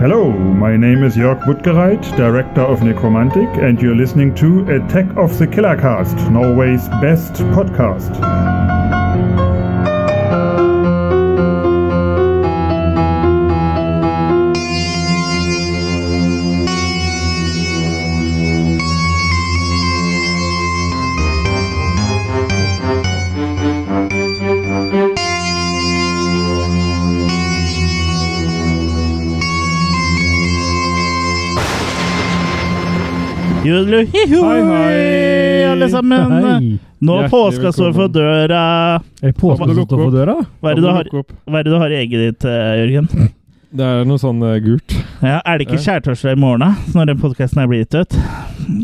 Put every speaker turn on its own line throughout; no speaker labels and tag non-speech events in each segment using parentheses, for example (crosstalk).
Hello, my name is Jörg Butgereit, director of Necromantic, and you're listening to Attack of the Killer Cast, Norway's best podcast.
Jodelu, hiho,
Hei, hei.
alle sammen.
Hei.
Nå er
Hjertelig
påska står for
velkommen.
døra.
Er det påsken som står for døra?
Hva er det du
Da må
har,
lukke opp.
hva er det du har i egget ditt, eh, Jørgen?
Det er noe sånn eh, gult.
Ja, er det ikke skjærtorsdag i morgen, da? Når den podkasten er blitt ut?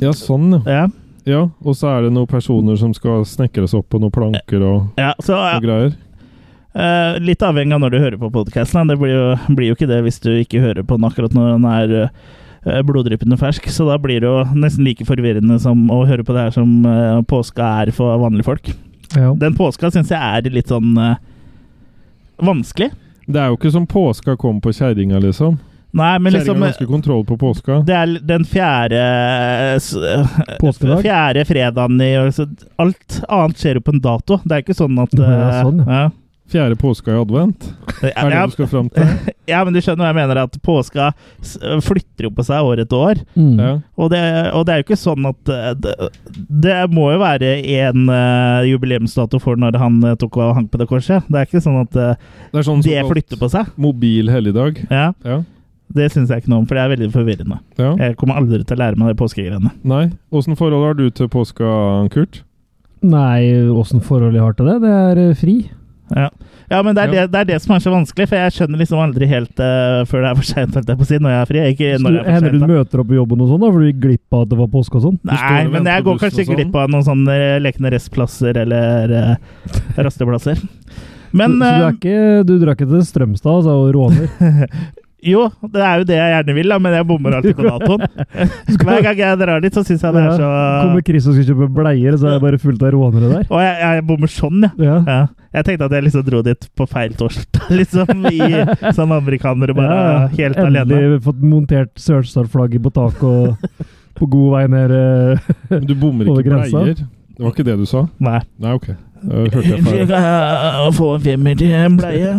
Ja, sånn, ja.
Ja,
ja. Og så er det noen personer som skal snekres opp på noen planker og,
ja så
og
ja,
greier.
eh, Litt avhengig av når du hører på podkasten. Det blir jo, blir jo ikke det hvis du ikke hører på den akkurat når den er eh, bloddryppende fersk. Så da blir det jo nesten like forvirrende som å høre på det her som eh, påska er for vanlige folk.
Ja.
Den påska syns jeg er litt sånn eh, vanskelig.
Det er jo ikke som påska kom på kjerringa, liksom.
Nei, men
Kjerringa
liksom
har ganske kontroll på påska.
Det er den fjerde eh, s-
Påskedag?
Fjerde fredagen i år. så Alt annet skjer jo på en dato. Det er ikke sånn at
Ja,
eh,
sånn,
ja.
Fjerde påska i advent. Er det
Ja,
det du skal
(laughs)
fram til?
ja, men du skjønner hva jeg mener, at påska s- eh, flytter jo på seg år etter år.
Mm.
Ja.
Og det, og det er jo ikke sånn at eh, Det, det må jo være en eh, jubileumsdato for når han eh, tok og hang på det korset. Det er ikke sånn at eh,
Det er sånn
det
såkalt
flytter på seg.
mobil helligdag.
Ja,
Ja.
Det syns jeg ikke noe om, for det er veldig forvirrende.
ja.
Jeg kommer aldri til å lære meg de påskegreiene.
Nei. Åssen forhold har du til påska, Kurt?
Nei, åssen forhold jeg har til det? Det er eh, fri.
Ja, ja men det er,
Ja.
Det, det er det som er så vanskelig, for jeg skjønner liksom aldri helt eh, før det er for seint, holdt jeg på å si, når jeg er fri. Ikke
Så
når
du,
jeg er for
hender du
sent, da.
møter opp i jobben og sånn, da, for du gikk glipp av at det var påske og sånn?
Nei,
og
men
venter
jeg
på
går kanskje
bussen og
glipp av noen sånne eh, lekne restplasser eller eh, rasteplasser.
(laughs)
Men
så, så du, er ikke, du drar ikke til Strømstad altså, og
(laughs)
råner?
eh, jo, det er jo det jeg gjerne vil, da, men jeg bommer alltid på
(laughs)
datoen. Hver gang jeg drar dit, så syns jeg det er så
Kommer Chris og skal kjøpe bleier, så er det bare fullt av rånere der?
Og jeg, jeg bommer sånn, ja.
Ja.
ja. Jeg tenkte at jeg liksom dro dit på feil torsdag, (laughs) liksom. I sånn amerikanere bare
Ja,
helt alene.
Endelig fått montert Sørstad-flagget på taket
(laughs)
og på god vei ned eh,
Men du bommer
Over
ikke
grensa.
bleier? Det var ikke det du sa?
Nei.
Nei, OK. Da hørte
(laughs)
jeg feil.
Å (laughs) få en femmer til en bleie.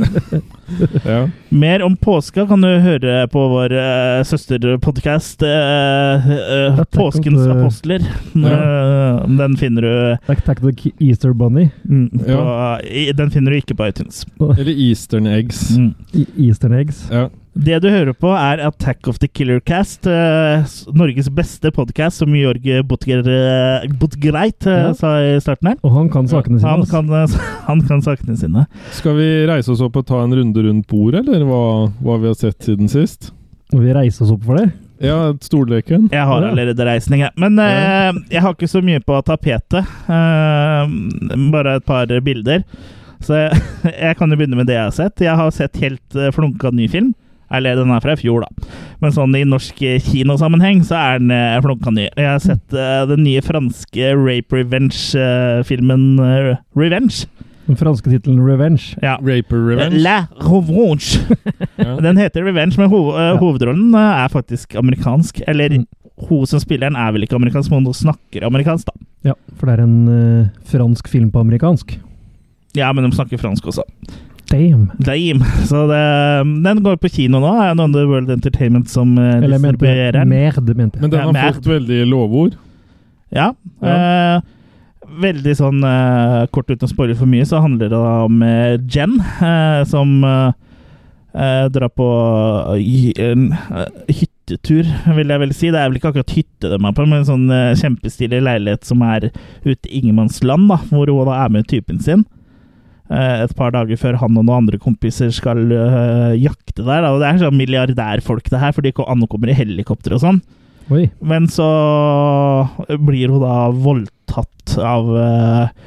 Ja.
Mer om påska kan du høre på vår uh, søsterpodkast eh, eh,
Ja, tenk om
Påskens
det-
apostler. Eh, den finner du
Attack Attack of the Easter Bunny.
mm, på,
Ja.
i, Den finner du ikke på iTunes.
Eller Eastern Eggs.
Mm.
I E- Eastern Eggs.
Ja.
Det du hører på, er Attack of the Killer Cast. eh, s- Norges beste podkast, som Jorg Butger, eh, Butgreit eh,
Ja.
sa i starten her.
Og han kan sakene sine.
Han
altså.
kan, eh, (laughs) han kan sakene sine.
Skal vi reise oss opp og ta en runde rundt bordet, eller hva, hva vi har sett siden sist?
Og vi reiser oss opp for det.
Ja, stolleken.
Jeg har
Ja.
allerede reisning, jeg. Men
Ja.
eh, jeg har ikke så mye på tapetet. Eh, bare et par bilder. Så jeg, (laughs) jeg kan jo begynne med det jeg har sett. Jeg har sett helt eh, flunka ny film. Eller den er fra i fjor, da. Men sånn i norsk eh, kinosammenheng så er den eh, flunka ny. Jeg har sett eh, den nye franske rape revenge-filmen eh, Revenge.
Den franske tittelen Revenge.
Ja. Eh,
Raper Revenge.
La Revanche.
Ja.
Den heter Revenge, men ho eh,
Ja.
hovedrollen eh, er faktisk amerikansk. Eller
Mm.
hun som spiller den er vel ikke amerikansk, men hun snakker amerikansk, da.
Ja, for det er en eh, fransk film på amerikansk.
Ja, men de snakker fransk også.
Damn!
Damn. Så det, eh, den går på kino nå. Er det noen The World Entertainment som eh,
Eller jeg mente
distribuerer den?
merde, mente jeg.
Men den
Ja, mer.
har fått veldig lovord.
Ja. eh, veldig sånn eh, kort uten å spoile for mye, så handler det da om eh, Jen, eh, som eh, eh, drar på i- en eh, hyttetur, vil jeg vel si. Det er vel ikke akkurat hytte de er på, men en sånn eh, kjempestilig leilighet som er ute i ingenmannsland, da, hvor hun da er med typen sin. eh, Et par dager før han og noen andre kompiser skal eh, jakte der. Da. Og det er sånn milliardærfolk, det her, for de ko- ankommer i helikopter og sånn.
Oi.
Men så blir hun da voldtatt av eh,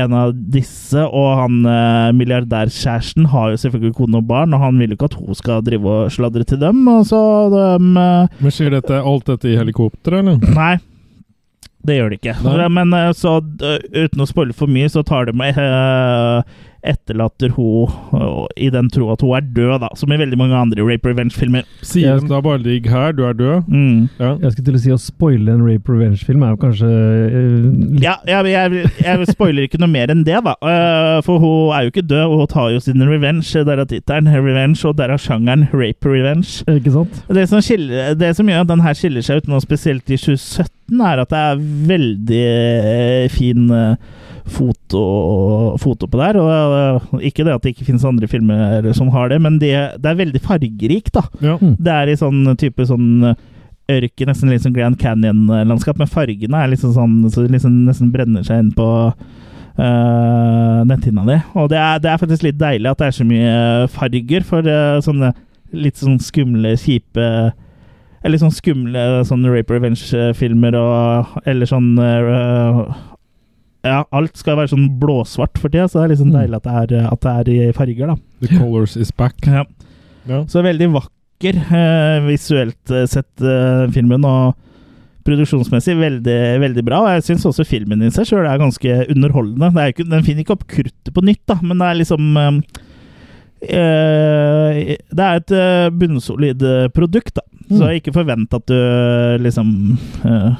en av disse, og han eh, milliardærkjæresten har jo selvfølgelig kone og barn, og han vil jo ikke at hun skal drive og sladre til dem, og så dem, eh,
Men skjer dette, alt dette i helikopteret, eller?
Nei. Det gjør det ikke.
Nei.
Men eh, så eh, uten å spoile for mye, så tar de med eh, etterlater hun øh, i den tro at hun er død, da, som i veldig mange andre rape revenge-filmer.
Sier de da bare 'ligg her, du er død'?
Mm.
Ja.
Jeg skulle til å si å spoile en rape revenge-film er jo kanskje eh, litt
Ja, jeg, jeg, jeg spoiler ikke noe mer enn det, da. Eh, For hun er jo ikke død, og hun tar jo sin revenge. Der er tittelen 'Revenge', og der er sjangeren 'Rape Revenge'.
eh, Ikke sant?
Det som, skiller, det som gjør at den her skiller seg ut nå, spesielt i 2017, er at det er veldig eh, fin eh, foto, foto på der. Og eh, ikke det at det ikke finnes andre filmer som har det, men det, det er veldig fargerikt, da.
Ja.
Det er i sånn type sånn ørken, nesten litt sånn Grand Canyon-landskap, men fargene er liksom sånn så det liksom nesten brenner seg inn på øh, netthinna di. Og det er, det er faktisk litt deilig at det er så mye farger for øh, sånne litt sånn skumle, kjipe eller sånn skumle sånn rape revenge-filmer og Eller sånn øh, Ja, alt skal være sånn blåsvart for tida, så det er liksom
Mm.
deilig at det er, at det er i farger, da.
The colors is back.
Ja.
Ja.
Så veldig vakker eh, visuelt eh, sett, eh, filmen. Og produksjonsmessig veldig, veldig bra. Og jeg syns også filmen i seg sjøl er ganske underholdende. Det er jo ikke, den finner ikke opp kruttet på nytt, da, men det er liksom eh, eh, Det er et eh, bunnsolid eh, produkt, da. Så ikke forvent at du liksom eh,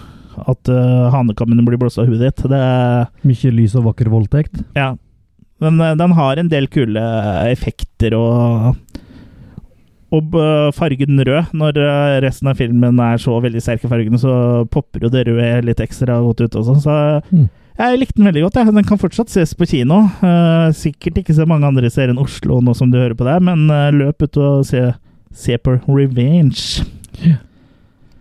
At eh, hanekammene blir blåst av huet ditt. Det er
Mye lys og vakker voldtekt.
ja. Men eh, den har en del kule eh, effekter og og b- fargen rød, når eh, resten av filmen er så veldig sterke fargene, så popper jo det røde litt ekstra godt ut også. Så
Mm.
jeg likte den veldig godt. Jeg. Den kan fortsatt ses på kino. Eh, sikkert ikke så mange andre ser enn Oslo nå som du hører på der, men eh, løp ut og se, se på Revenge.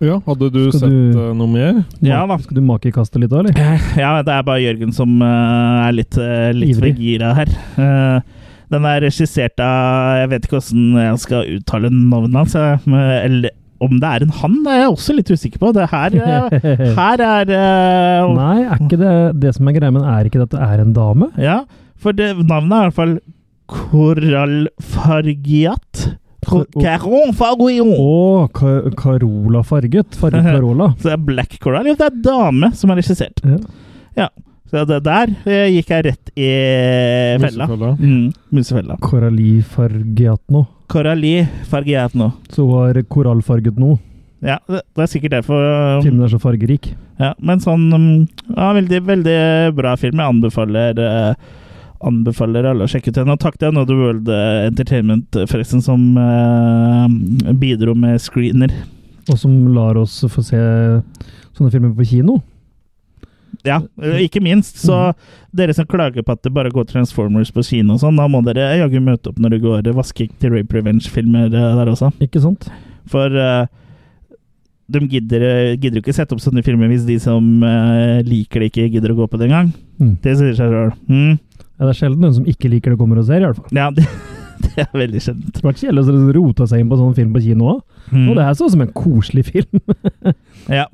Ja, hadde du
Skal
sett
du-
eh, noe mer?
Ja da.
Skal du make i kastet litt da, eller?
Ja, det er bare Jørgen som eh, er litt, uh, litt
Ivrig.
for gira her. Eh, den er regissert av Jeg vet ikke hvordan jeg skal uttale navnet hans. jeg, men- Eller om det er en han, er jeg også litt usikker på. Det her,
(laughs)
eh, her er eh,
Nei, er ikke det det som er greia, men er ikke det at det er en dame?
Ja, for det, navnet er i hvert fall Coral Fargiat.
Cor-
Caron Farguillon.
Å, Ka- Carola farget. Farget Carola.
Så det er Black Coral. Jo, det er dame som er regissert.
Ja.
Ja. Så det der eh, gikk jeg rett i fella.
Musefella.
Mm, Musefella.
Coralie farget nå.
Coralie Fargiatno.
Så hun har korallfarget nå.
Ja, det det er sikkert derfor. um,
Filmen er så fargerik.
Ja, men sånn um, ja, Veldig veldig bra film. Jeg anbefaler eh, Anbefaler alle å sjekke ut den. Og takk til Another World eh, Entertainment, eh, forresten, som eh, bidro med screener.
Og som lar oss få se sånne filmer på kino.
Ja, eh, ikke minst. Så
Mhm.
dere som klager på at det bare går Transformers på kino og sånn, da må dere jaggu møte opp når det går eh, vasking til Rape Revenge-filmer eh, der også.
Ikke sant?
For eh, de gidder, eh, gidder jo ikke sette opp sånne filmer hvis de som eh, liker det, ikke gidder å gå på det engang.
Mm.
Det sier seg sjøl. Mm.
Ja, det er sjelden noen som ikke liker det, kommer og ser, i hvert fall.
Ja, (laughs) det, det er veldig sjeldent.
Det har vært kjedelig å så rota seg inn på sånn film på kino òg. Og det
Mm.
her så ut som en koselig film.
Ja.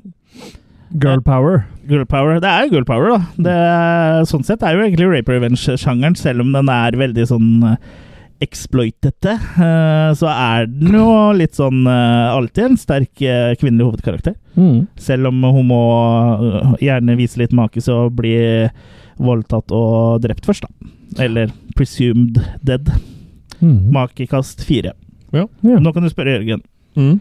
Girl power.
(laughs) Girl power. Det er jo girl power, da. Det, er- sånn sett er jo egentlig rape revenge-sjangeren, selv om den er veldig sånn eh, exploitete, eh, så er den jo litt sånn eh, alltid en sterk eh, kvinnelig hovedkarakter.
Mm.
Selv om hun må øh, gjerne vise litt make, så bli voldtatt og drept først, da. Eller presumed dead.
Mm.
Makekast fire.
Ja.
Nå kan du spørre Jørgen.
Mm.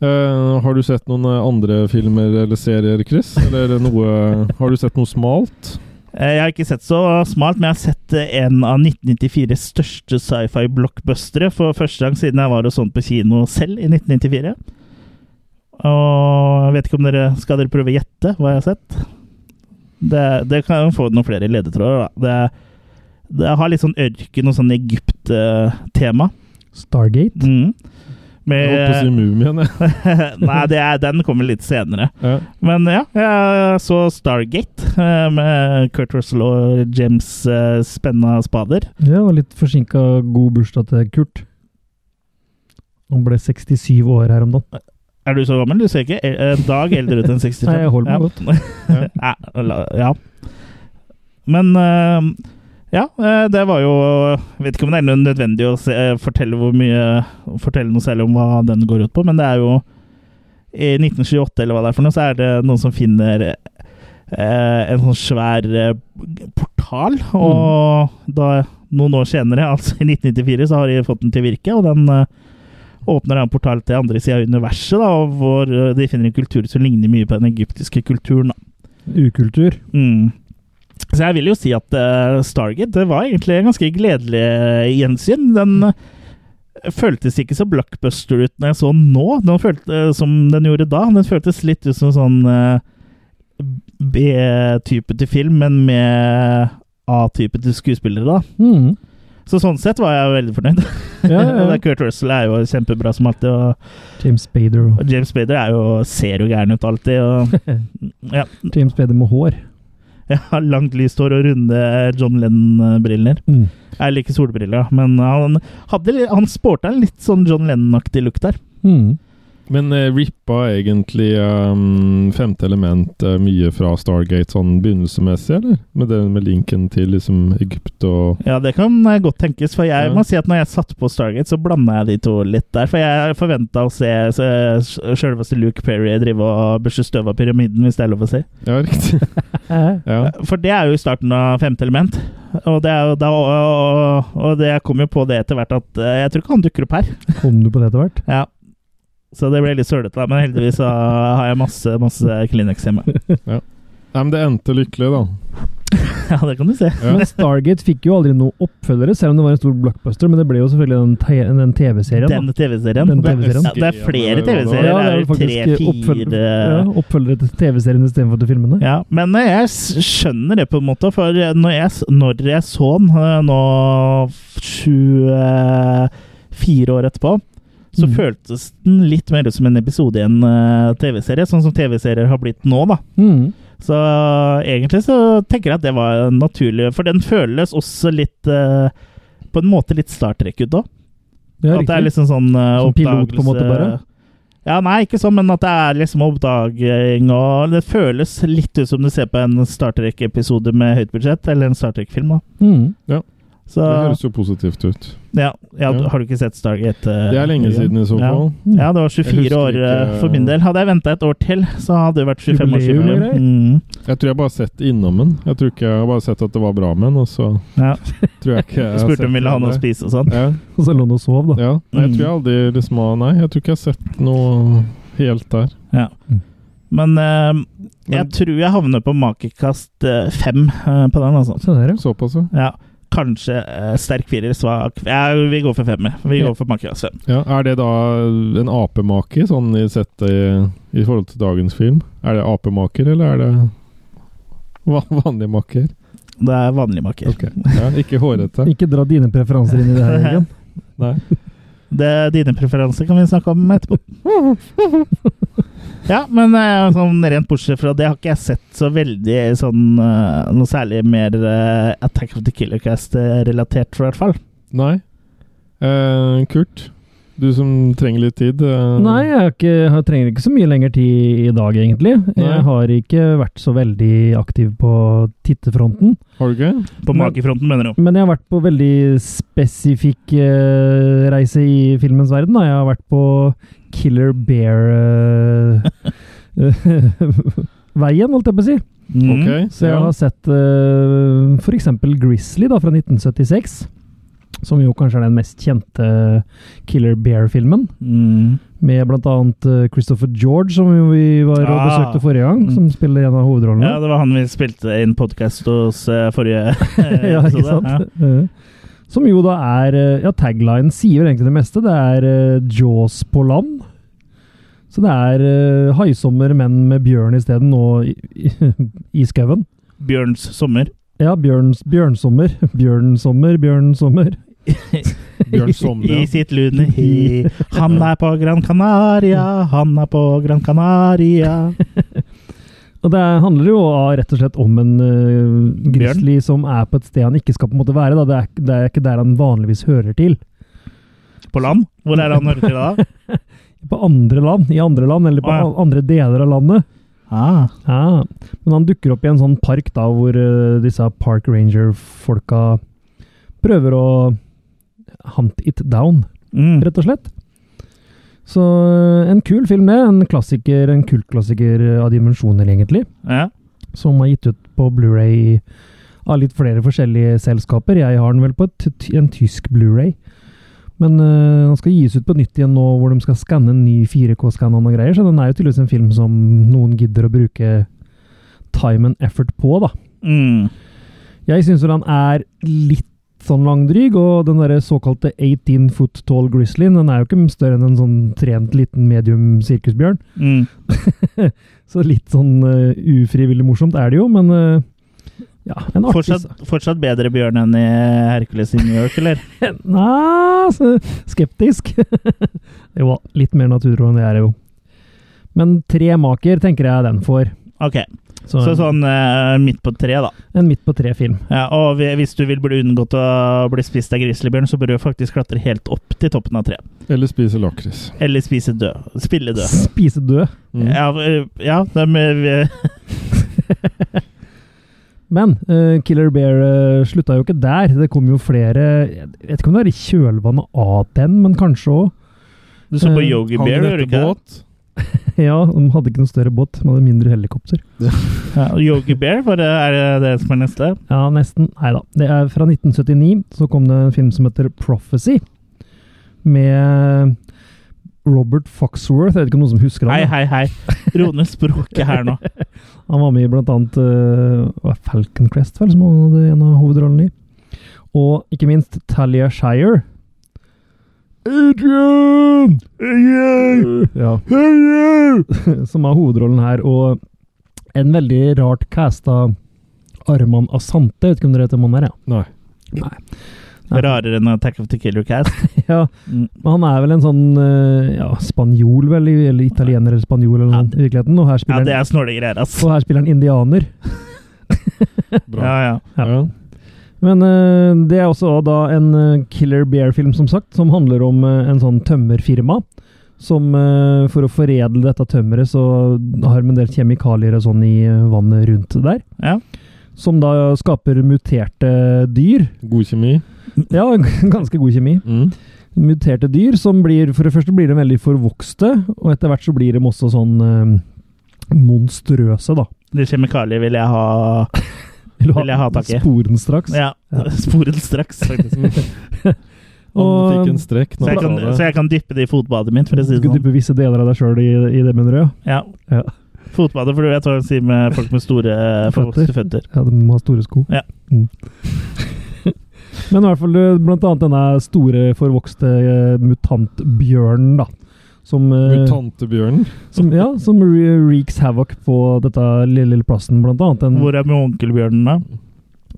Eh, har du sett noen eh, andre filmer eller serier, Chris? Eller noe Har du sett noe smalt?
Eh, Jeg har ikke sett så smalt, men jeg har sett eh, en av 1994s største sci-fi-blockbustere for første gang siden jeg var og sånn på kino selv i 1994. Og jeg vet ikke om dere Skal dere prøve å gjette hva jeg har sett? Det, det kan jo få noen flere ledetråder, da. Det, det har litt sånn ørken og sånn Egypt-tema.
Stargate.
Mm.
Jeg holdt på å si
Med,
Mumien, jeg.
(laughs) nei, det er, den kommer litt senere.
Ja.
Men ja, jeg så Stargate eh, med Kurt Russell og James eh, Spenna Spader.
Ja, og litt forsinka god bursdag til Kurt. Han ble 67 år her om dagen.
Er du så gammel? Du ser ikke eh, en dag eldre ut enn 65.
(laughs) Nei, jeg holder meg godt.
ja. Ja, la- ja. Men eh, ja, eh, det var jo Jeg vet ikke om det er noe nødvendig å se, eh, fortelle hvor mye Fortelle noe særlig om hva den går ut på, men det er jo I 1928, eller hva det er for noe, så er det noen som finner eh, en sånn svær eh, portal Carl, og da, noen år senere, (laughs) altså i 1994, så har de fått den til å virke, og den eh, åpner en portal til andre sida av universet, da, og hvor eh, de finner en kultur som ligner mye på den egyptiske kulturen. Da.
Ukultur.
Mm. Så jeg vil jo si at eh, Stargate det var egentlig en ganske gledelig eh, gjensyn. Den
Mm.
eh, føltes ikke så blockbuster ut når jeg så den nå, den følte, eh, som den gjorde da. Den føltes litt ut som sånn eh, B-type til film, men med A-type til skuespillere, da. (laughs)
Mm.
Så sånn sett var jeg veldig fornøyd.
Ja, ja.
(laughs) Kurt Russell er jo kjempebra som alltid, og,
James Spader og
og James Bader er jo, ser jo gæren ut alltid. Og, (laughs) ja,
James Spader med hår.
Jeg har langt lyst hår og runde John Lennon-briller.
Mm.
Jeg liker solbriller, da, men han, hadde, li- han sporta en litt sånn John Lennon-aktig look der.
Mm.
Men eh, rippa egentlig ehm, femte element eh, mye fra Stargate sånn begynnelsesmessig, eller? Med den med linken til liksom Egypt
(laughs)
og
Ja, det kan eh, godt tenkes, for jeg
Ja.
må si at når jeg satte på Stargate, så blanda jeg de to litt der. For jeg forventa å se se- sjølveste Luke Perry drive og børste støv av pyramiden, hvis det er lov å si.
Ja, riktig. (laughs) Ja.
For det er jo i starten av femte element. Og det, er jo da, og, og det jeg kom jo på det etter hvert at eh, jeg tror ikke han dukker opp her.
Kom du på det etter hvert?
Ja. Så det ble litt sølete, da, men heldigvis så har jeg masse masse Kleenex hjemme. (laughs)
Nei, men det endte lykkelig, da.
Ja, det kan du se.
Ja.
Men Stargate fikk jo aldri noen oppfølgere, selv om det var en stor blockbuster. Men det ble jo selvfølgelig den, te- den TV-serien.
Den
da.
TV-serien.
Den TV-serien.
Ja, det er flere TV-serier.
Ja,
det er
vel
jo
faktisk oppføl-
tre-fire
ja, oppfølgere til TV-serien istedenfor til filmene.
eh, Ja, men eh, jeg s- skjønner det på en måte, for eh, når jeg, s- når jeg så den eh, nå 24 år etterpå, så
Mm.
føltes den litt mer ut som en episode i en eh, TV-serie, sånn som TV-serier har blitt nå, da.
Mm.
Så eh, egentlig så tenker jeg at det var naturlig, for den føles også litt eh, på en måte litt Star Trek ut òg.
Ja,
At det er
riktig.
liksom sånn uh,
Som pilot, på en måte, bare?
Ja, nei, ikke sånn, men at det er liksom oppdaging og Det føles litt ut som du ser på en Star Trek-episode med høyt budsjett, eller en Star Trek-film. da.
Mm.
Så
Det høres jo positivt ut.
ja, ja, du-
Ja.
har du ikke sett Stargate? eh,
Det er lenge
Jørgen?
siden, i så
Ja.
fall.
Mm.
Ja, det var
Jeg
24
husker
år eh,
ikke-
for min del. Hadde jeg venta et år til, så hadde det vært 25 år
Jubileum,
siden.
eller?
Mm,
Jeg tror jeg bare har sett det innom den. Jeg tror ikke jeg har bare sett at det var bra med den, og så
ja.
tror
(laughs)
jeg ikke jeg har
Spurte om
sett
ville ha noe å
det.
spise og sånn.
Ja,
Og så lå han og sov, da.
ja. Nei, jeg
Mm.
tror jeg aldri liksom har Nei, jeg tror ikke jeg har sett noe helt der.
Mm.
Men eh, jeg
Men
tror jeg havner på makekast eh, fem eh, på den, altså.
Se der, ja.
såpass, ja.
Ja, kanskje eh, sterk firer, svak Ja, vi går for femmer. Vi går for altså. Makeras fem.
ja. Er det da en apemake, sånn i sett i, i forhold til dagens film? Er det apemaker, eller er det (laughs) va- vanlig maker?
Det er vanlig maker.
Ok. Ja,
(laughs)
ikke hårete.
Ikke dra dine preferanser inn i det her,
(laughs)
Jørgen.
Nei.
Det er dine preferanser kan vi snakke om
(laughs)
etterpå. Ja, men eh, sånn rent bortsett fra det har ikke jeg sett så veldig sånn eh, noe særlig mer eh, Attack of the Killer Cast-relatert, i hvert fall.
Nei. Eh, Kurt, du som trenger litt tid. eh,
Mm.
Nei, jeg, har ikke, jeg trenger ikke så mye lenger tid i dag, egentlig.
Nei.
Jeg har ikke vært så veldig aktiv på tittefronten.
Har du ikke?
På
Men-
makefronten, mener du?
Men jeg har vært på veldig spesifikk eh, reise i filmens verden. Da. Jeg har vært på Killer (laughs) Bear-veien, holdt jeg på å si.
Mm.
Ok.
Så jeg
ja.
har sett eh, for f.eks. Grizzly da, fra 1976. Som jo kanskje er den mest kjente Killer Bear-filmen.
Mm.
Med bl.a. Christopher George, som jo vi var og
Ah.
besøkte forrige gang.
Mm.
Som spiller en av hovedrollene.
Ja, det var han vi spilte inn podkast hos eh, forrige eh,
(laughs) ja, ikke
episode.
sant? Eh, Som jo da er eh, Ja, taglinen sier vel egentlig det meste. Det er eh, Jaws på land. Så det er eh, haisommer, men med bjørn isteden, og i, i, (laughs) i skauen.
Ja. Bjørns sommer.
Ja, bjørns, bjørnsommer. (laughs) Bjørnsommer, bjørnsommer.
Bjørn Sommer.
(laughs)
(laughs)
I
ja.
sitt lune hi. Han er på Gran Canaria, han er på Gran Canaria.
Og det er- handler jo av- rett og slett om en uh, grizzly som er på et sted han ikke skal på en måte være. Da. Det, er, det er ikke der han vanligvis hører til.
På land? Hvor er han hører til da?
På andre land, i andre land, eller på
Å, ja.
an- andre deler av landet.
Ah,
Ja, men han dukker opp i en sånn park da, hvor eh, disse park ranger-folka prøver å hunt it down,
mm.
rett og slett. Så eh, en kul film det, en klassiker, en kultklassiker eh, av dimensjoner egentlig,
ja.
som er gitt ut på Blu-ray av litt flere forskjellige selskaper. Jeg har den vel på et, ty- en tysk Blu-ray. Men øh, den skal gis ut på nytt igjen nå, hvor de skal skanne en ny 4K-skanner og greier. Så den er jo tydeligvis en film som noen gidder å bruke time and effort på, da.
Mm.
Jeg syns den er litt sånn langdryg, og den der såkalte 18 foot tall grizzlyen, den er jo ikke større enn en sånn trent liten medium sirkusbjørn.
Mm.
Så litt sånn eh, ufrivillig morsomt er det jo, men eh, ja, en artig
Fortsatt,
altså.
fortsatt bedre bjørn enn i Hercules i New York, eller?
(laughs) Nei, så skeptisk. (laughs) jo da, litt mer naturtro enn det er det jo. Men tre maker tenker jeg den får.
(laughs)
Ok, så sånn eh, midt på tre, da.
En midt på tre-film.
Ja, og vi- hvis du vil bli unngått å bli spist av grizzlybjørn, så bør du faktisk klatre helt opp til toppen av treet.
Eller spise lakris.
Eller spise død. Spille død.
Spise død.
Mm.
Ja, eh, ja det er med, vi-
Men eh, Killer Bear eh, slutta jo ikke der. Det kom jo flere Jeg vet ikke om det er i kjølvannet av den, men kanskje òg.
du så på
Eh,
Yogi
Hang
Bear,
den
gjør du
etter
ikke? det?
båt?
(laughs) Ja, de hadde ikke noe større båt, de hadde mindre helikopter.
Ja, Yogi Bear, var det, er eh, det det som er neste?
Ja, nesten. Nei da. Det er fra 1979. Så kom det en film som heter Prophecy. Med eh, Robert Foxworth. Jeg vet ikke om noen som husker
Hei,
han. da.
hei, hei. (laughs) Ro ned språket her nå.
Han var med i blant annet eh, hva er Falcon Crest, vel, som han hadde en av hovedrollene i. Og ikke minst Talia Shire. (laughs) Adrian! Ja. som er hovedrollen her, og en veldig rart casta Arman Asante. Vet ikke om dere vet hvem han er? Ja.
Nei.
Nei.
Rarere enn Attack of the Killer Cast.
Ja,
Mm.
men han er vel en sånn eh, ja, spanjol, vel, i- eller italiener eller spanjol
Ja,
eller noe sånt i virkeligheten. Og her
Ja,
spiller
det
han
er snåle greier, ass.
og her spiller han indianer.
Bra.
Ja, ja.
Ja.
Ja.
Men eh, det er også da en eh, Killer Bear-film, som sagt, som handler om eh, en sånn tømmerfirma. Som eh, for å foredle dette tømmeret, så har de en del kjemikalier og sånn i eh, vannet rundt der.
Ja.
Som da skaper muterte dyr.
God kjemi.
Ja, (laughs) ganske god kjemi.
Mm.
(laughs) Muterte dyr som blir For det første blir de veldig forvokste, og etter hvert så blir de også sånn eh, monstrøse, da.
De kjemikalier vil jeg ha
Vil
Vil jeg ha tak i.
Sporen straks.
Ja, (laughs) sporen straks, faktisk.
Han
Og-
fikk en strekk.
Så jeg, kan, så jeg kan dyppe det i fotbadet mitt, for å si
Du
det
kan
sånn.
dyppe visse deler av deg sjøl i, i det, mener du? ja?
Ja.
Ja.
Fotbadet, for du vet hva de sier med folk med store, forvokste føtter.
Ja, de må ha store sko.
Ja.
Mm. (laughs) Men i hvert fall eh, blant annet denne store, forvokste eh, mutantbjørnen, da. Som, eh,
Mutantebjørnen.
som, ja, som re reeks havoc på dette lille, lille plassen, blant annet. Den,
Hvor er med onkelbjørnen, da?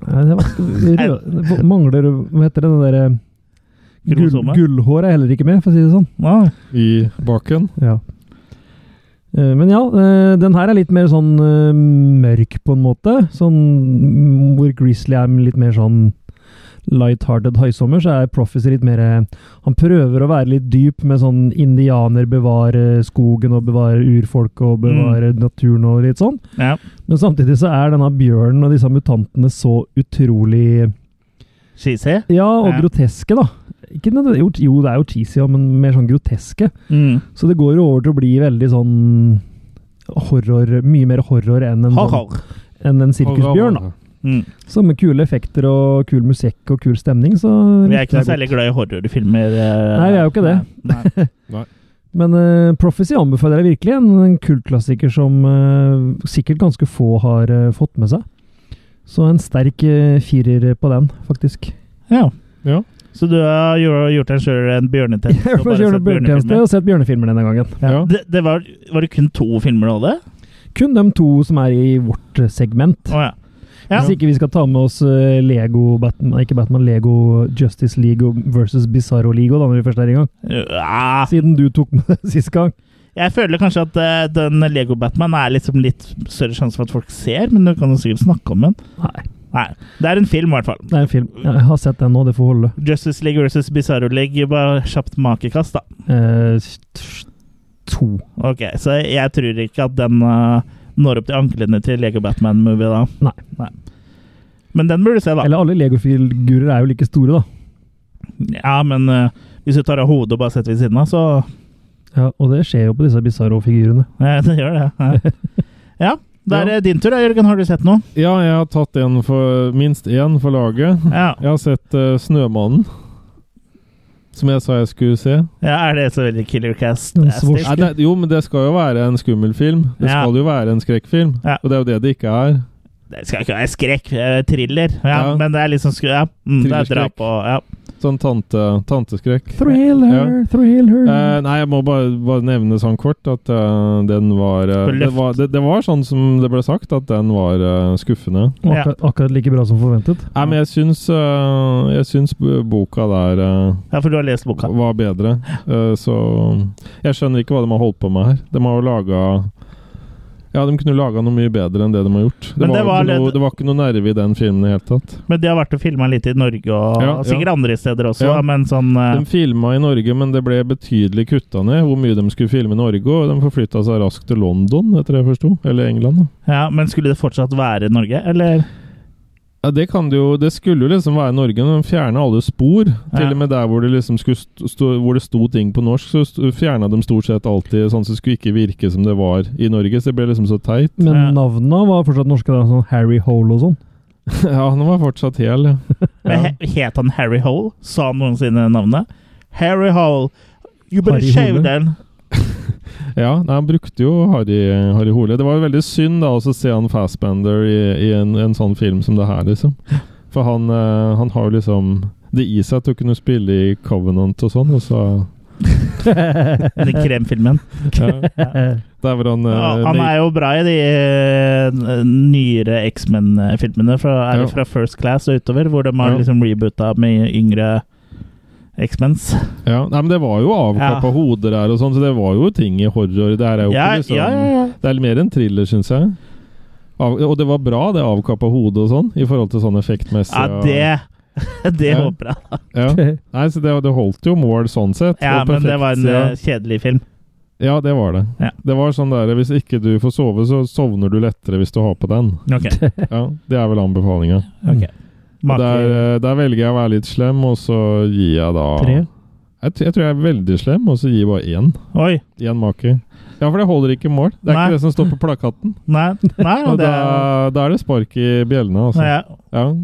Nei, det var, rød, det mangler Hva heter det, det derre gull,
Kromosomet?
Gullhår er heller ikke med, for å si det sånn.
Ah,
I baken.
Ja. Eh, Men ja, eh, den her er litt mer sånn eh, mørk på en måte. Sånn mm, hvor Grizzly er litt mer sånn light-hearted høysommer, så er Prophecy litt mer eh, Han prøver å være litt dyp med sånn indianer bevare skogen og bevare urfolket og bevare naturen og litt sånn.
ja.
Men samtidig så er denne bjørnen og disse mutantene så utrolig
Cheesy?
Ja, og
Ja.
groteske, da. Ikke nødvendig- jo, jo, det er jo cheesy, ja, men mer sånn groteske.
Mm.
Så det går jo over til å bli veldig sånn horror, mye mer horror enn en, sånn,
Har-har.
enn en sirkusbjørn. da.
Mm.
Så med kule effekter og kul musikk og kul stemning, så
Vi er ikke noe
likte jeg
særlig glad i horrorfilmer. eh,
Nei, vi er jo ikke det.
Nei. Nei.
godt. Men eh, Prophecy anbefaler jeg virkelig. En, en kultklassiker som eh, sikkert ganske få har eh, fått med seg. Så en sterk eh, firer på den, faktisk.
Ja.
Ja.
Så du har gjort, gjort deg sjøl en bjørnetjeneste?
(laughs) Jeg
og bare
får gjøre
sett
bjørnetjeneste og sett bjørnefilmer denne gangen.
Ja.
Ja.
Det, det var, var det kun to filmer du hadde?
Kun de to som er i vårt eh, segment.
Å ja. Ja.
Hvis ikke vi skal ta med oss eh, Lego Batman, ikke Batman, Lego Justice League og versus Bizarro League da når vi først er i gang.
Ja.
Siden du tok med det (laughs) sist gang.
Jeg føler kanskje at eh, den Lego Batman er liksom litt større sjanse for at folk ser, men du kan jo sikkert snakke om den.
Nei,
Nei, Det er en film, i hvert fall.
det er en film. Jeg har sett den nå, det får holde.
Justice League versus Bizarro League. Bare kjapt makekast, da.
Eh, t- to.
Ok, Så jeg tror ikke at den eh, når opp til anklene til Lego Batman-movie, da.
Nei.
Men den burde du se, da.
Eller alle Lego-figurer er jo like store, da.
Ja, men eh, hvis du tar av hodet og bare setter ved siden av, så (laughs)
Ja, og det skjer jo på disse Bizarro-figurene.
Ja, det gjør det. Ja. ja. Det er
Ja.
eh, din tur, da, Jørgen. Har du sett noe?
Ja, jeg har tatt en for, minst én for laget.
Ja.
Jeg har sett eh, Snømannen. Som jeg sa jeg skulle se.
ja er det så veldig killer cast?
Den
astic?
Nei, det, jo, men det skal jo være en skummel film. Det
Ja.
skal jo være en skrekkfilm.
Ja.
Og det er jo det det ikke er.
Det skal ikke være skrekk. eh, Thriller. Ja,
Ja.
Men det er liksom skru... Ja. Mm, det er
Thrillerskrekk.
drap og ja.
Sånn tante, tanteskrekk.
Thriller,
Ja.
thriller
Eh, nei, jeg må bare, bare nevne sånn kort at eh, den var, eh,
For
det
løft.
var det, det var sånn som det ble sagt, at den var eh, skuffende.
ja.
akkurat, akkurat like bra som forventet.
Nei, men jeg syns, eh, jeg syns b- boka der eh,
ja, for du har lest boka.
var bedre. Eh, så jeg skjønner ikke hva de har holdt på med her. De har jo laga ja, De kunne laga noe mye bedre enn det de har gjort. Det,
Men
var,
det
jo
var
ikke noe,
litt-
det var ikke noe nerve i den filmen i det hele tatt.
Men de har vært og filma litt i Norge, og
Ja, ja.
sikkert andre steder også,
Ja. Mm.
men sånn eh,
De filma i Norge, men det ble betydelig kutta ned hvor mye de skulle filme i Norge. Og de forflytta seg raskt til London, etter det jeg forsto. Eller England. da.
Ja, Men skulle det fortsatt være Norge, eller?
Ja, det, kan det, jo, det skulle jo liksom være Norge, men de fjerna alle spor.
Ja.
Til og med der hvor det liksom skulle st- stå, hvor det sto ting på norsk, så st- fjerna de stort sett alltid sånn som skulle ikke virke som det var i Norge. Så det ble liksom så teit. (laughs)
Men
Ja.
navnene var fortsatt norske, da, sånn Harry Hole
(laughs)
og sånn.
Ja, han var fortsatt hel, ja.
Men he- Het han Harry Hole? Sa han noensinne navnet? Harry Hole. You better
Harry
shave
Hole.
den.
ja nei, han brukte jo Harry, Harry Hole. Det var jo veldig synd da også å se han Fassbender i, i en, en sånn film som det her, liksom. For han, eh, han har jo liksom det i seg til å kunne spille i Covenant og sånn, og så
(laughs)
(laughs)
Den kremfilmen.
ja. Der var han, eh,
Ja, han er jo bra i de eh, nyere X-Men-filmene. Fra, er det
Ja.
fra First Class og utover, hvor de har
Ja.
liksom reboota med yngre X-Mens.
Ja, nei, men det var jo avkappa
Ja.
hoder her og sånn, så det var jo ting i horror. Det her er jo
Ja,
ikke liksom
ja, ja, ja.
Det er mer en thriller, syns jeg. Av, og det var bra, det avkappa hodet og sånn, i forhold til sånn effektmessig.
Ja,
og-
det Det (laughs)
Ja.
håper jeg.
ja. Nei, så det, det holdt jo mål sånn sett.
Ja,
og
men det
perfekt,
var en
ja.
eh, kjedelig film.
Ja, det var det.
Ja.
Det var sånn der hvis ikke du får sove, så sovner du lettere hvis du har
(laughs)
på den.
Ok.
Ja, (laughs) Det er vel anbefalinga.
ok. Make-
Der, eh, der velger jeg å være litt slem, og så gir jeg da
Tre.
Jeg, t- jeg tror jeg er veldig slem, og så gir jeg bare én.
Oi.
Én make. Ja, for det holder ikke mål. Det er
Nei.
ikke det som står på plakaten.
Nei, nei
Og
det
da, da er det spark i bjellene, altså.
nei,
Ja.
ja.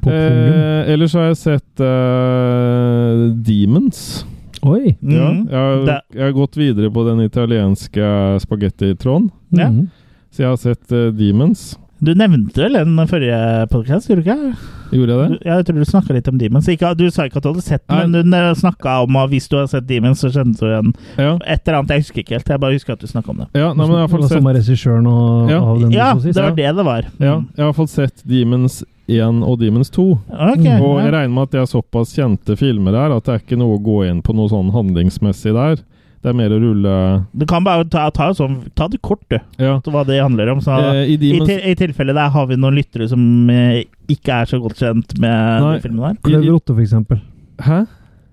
På pungen.
Eh, ellers har jeg sett eh, Demons.
(laughs) Oi!
Mm.
Ja, jeg, har,
Det-
jeg har gått videre på den italienske eh, spagettitråden,
Ja.
Mhm.
så jeg har sett eh, Demons.
Du nevnte vel den forrige podkast, gjorde du ikke?
Gjorde jeg
Du,
det?
jeg tror du snakka litt om Demons. Ikke, du sa ikke at du hadde sett den,
Nei.
men du snakka om at hvis du har sett Demons, så kjente du igjen
Ja.
et eller annet. Jeg husker ikke helt. Jeg bare husker at du snakka om det.
Ja, nei, men jeg har
Det
fått
var
sett,
samme regissøren og,
Ja.
av den
Ja,
som
det
sist.
var det det var. Mm.
ja, jeg har fått sett Demons 1 og Demons 2.
Ok.
Mm. Og jeg
ja.
regner med at det er såpass kjente filmer her at det er ikke noe å gå inn på noe sånn handlingsmessig der. Det er mer å rulle
Du kan bare ta, ta, sånn, ta det kort, du,
Ja.
til hva det handler om. Så,
Eh, I
i,
Demons
til, I tilfelle der har vi noen lyttere som eh, ikke er så godt kjent med
Nei.
den filmen der.
Kløver Otte, for eksempel.
Hæ?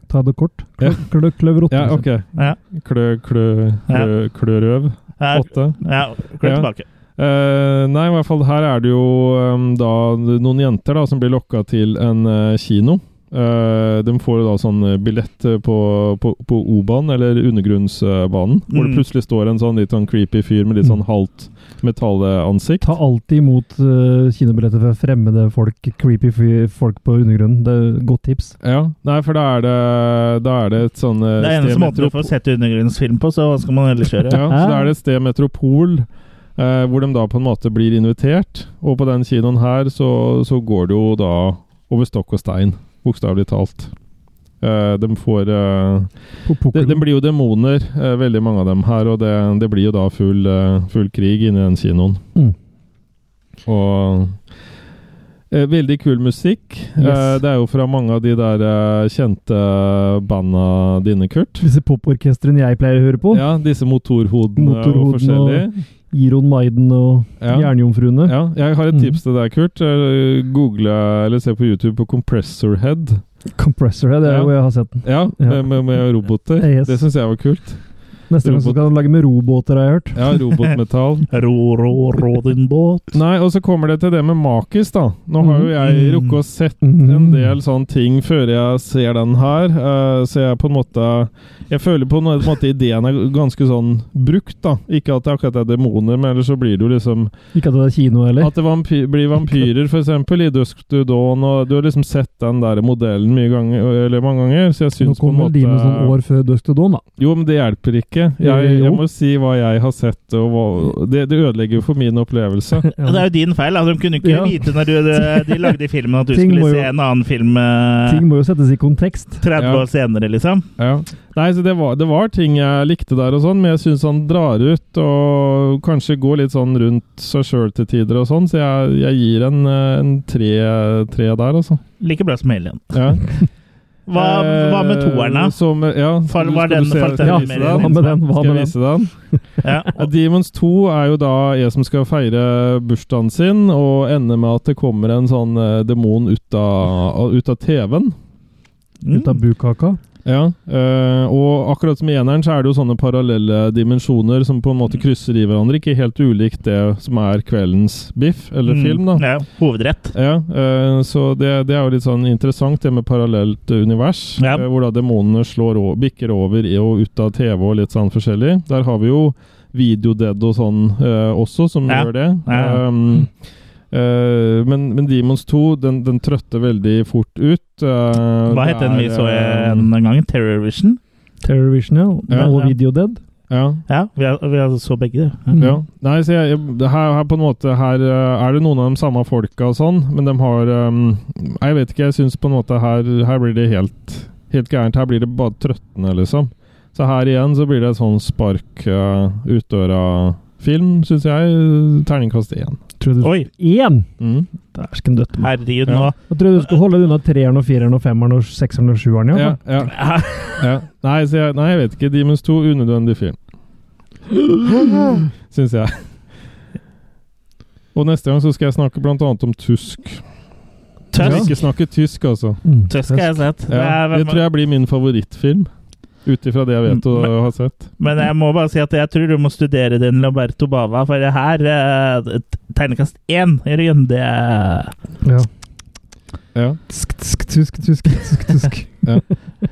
Ta det kort. Klø,
Ja.
klø, kløver Otte.
Ja,
for
ok.
Ja.
Klø, klø, klø, klørøv.
Ja,
Åtte.
ja, klør
Ja.
tilbake.
Eh, nei, i hvert fall her er det jo eh, da noen jenter da som blir lokka til en eh, kino. Eh, de får jo da sånn eh, billett eh, på, på, på O-banen, eller undergrunnsbanen, hvor
Mm.
det plutselig står en sånn litt sånn creepy fyr med litt sånn
Mm.
halvt metallansikt.
Ta alltid imot uh, kinobilletter fra fremmede folk, creepy fy- folk på undergrunnen. Det er Godt tips.
Ja, nei, for da er det, da er det et sånn eh,
Det er eneste
sted
måten du
metrop-
får sett undergrunnsfilm på, så hva skal man ellers gjøre?
Ja, så da er det et sted Metropol, eh, hvor de da på en måte blir invitert. Og på den kinoen her så, så går det jo da over stokk og stein, bokstavelig talt. Eh, de får eh,
På
de,
pukkelen.
de blir jo demoner, eh, veldig mange av dem her, og det, det blir jo da full, eh, full krig inni den kinoen.
Mm.
Og eh, Veldig kul musikk. Eh,
Yes.
det er jo fra mange av de der eh, kjente banda dine, Kurt.
Disse poporkestrene jeg pleier å høre på.
Ja, disse motorhodene,
Motorhodene og-
og forskjellige.
Iron Maiden og
Ja.
Jernjomfruene.
Ja, jeg har et
Mm.
tips til deg, Kurt. Eh, Google eller se på YouTube på Compressor Head.
Compressor, ja, det er
Ja.
hvor jeg har sett den.
Ja,
Ja.
Med, med, med roboter.
Yes.
Det syns jeg var kult.
Neste gang så skal han lage med robåter, har jeg hørt. (laughs)
Ja, robotmetall.
Ro, ro, rå din båt.
Nei, og så kommer det til det med makis, da. Nå har jo jeg
Mm.
rukket å sett
Mhm.
en del sånne ting før jeg ser den her, eh, så jeg på en måte Jeg føler på en måte ideen er ganske sånn brukt, da. Ikke at det akkurat er demoner, men ellers så blir det jo liksom
Ikke at det er kino heller.
At det vampy blir vampyrer, for eksempel, i Dusk to Dawn, og du har liksom sett den der modellen mye ganger, eller mange ganger, så
Nå
jeg syns på en
kommer de med sånn
måte
år før Dusk to Dawn, da.
Jo, men det hjelper ikke. Jeg,
Jo.
jeg må si hva jeg har sett, og hva Det, det ødelegger jo for min opplevelse.
Ja.
Det er jo din feil. da. De kunne ikke
Ja.
vite når du, de lagde filmen at du
Ting må
skulle
jo-
se en annen film eh,
Ting må jo settes i kontekst.
30
Ja.
år senere, liksom.
Ja. Nei, så det var, det var ting jeg likte der og sånn, men jeg syns han drar ut og kanskje går litt sånn rundt seg sjøl til tider og sånn, så jeg, jeg gir en, eh, en tre, tre der, altså.
Like bra som Alien.
Ja.
(laughs) Hva, hva med toeren, da?
Eh, Som, ja,
Fall-
du-
var
skal du
den-
se-
falt den
skal jeg
mer
vise
inn?
den?
Hva med den? Hva
Skal jeg
med den?
vise den? (laughs)
Ja.
Ja, Demons 2 er jo da jeg som skal feire bursdagen sin, og ender med at det kommer en sånn eh, demon ut av, ut av TV-en.
Ut av
Mm.
bukaka.
Ja, eh, og akkurat som i eneren så er det jo sånne parallelle dimensjoner som på en
Mm.
måte krysser i hverandre. Ikke helt ulikt det som er kveldens biff, eller
Mm.
film, da.
Ja, hovedrett.
Ja, eh, så det, det er jo litt sånn interessant, det med parallelt univers.
Ja.
eh, Hvor da demonene slår og bikker over i og ut av TV og litt sånn forskjellig. Der har vi jo Videoded og sånn eh, også, som
Ja.
gjør det.
Ja.
Um, eh, men, men Demons 2, den, den trøtter veldig fort ut. Eh,
Hva het den vi så en gang? Terror Vision?
Terrorvision, ja.
Ja.
Og Video Dead.
Ja.
Ja, vi, har, vi har så begge. Ja.
Mm.
Ja. Nei, så jeg, jeg- det her, her på en måte Her eh, er det noen av de samme folka og sånn, men de har ehm, Jeg vet ikke, jeg syns på en måte her, her blir det helt, helt gærent. Her blir det bare trøttende, liksom. Så her igjen så blir det et sånn spark uh, utdøra-film, syns jeg. Terningkast én.
Tror du
Oi,
Én!
Mm.
Dæsken døtte meg.
herregud,
Ja.
nå
Jeg tror du skulle holde unna treeren og fireren og femmeren og sekseren og sjueren. Ja.
Ja, ja,
(laughs)
ja. Nei, så jeg, nei, jeg vet ikke. Demons 2, unødvendig
(gasps)
film. Syns jeg. Og neste gang så skal jeg snakke blant annet om tysk. Jeg vil
Tøsk.
ikke snakke tysk, altså.
Mm.
Tøsk har jeg sett. Det
Ja,
er,
det tror jeg blir min favorittfilm. Ut ifra det jeg vet og har sett.
Mm. Men jeg må bare si at jeg tror du må studere din Lamberto Bava, for det her eh, Tegnekast én, Jørgen, det er
Ja.
Ja.
Tsk, tsk, tusk, tusk, tusk,
(laughs)
tusk.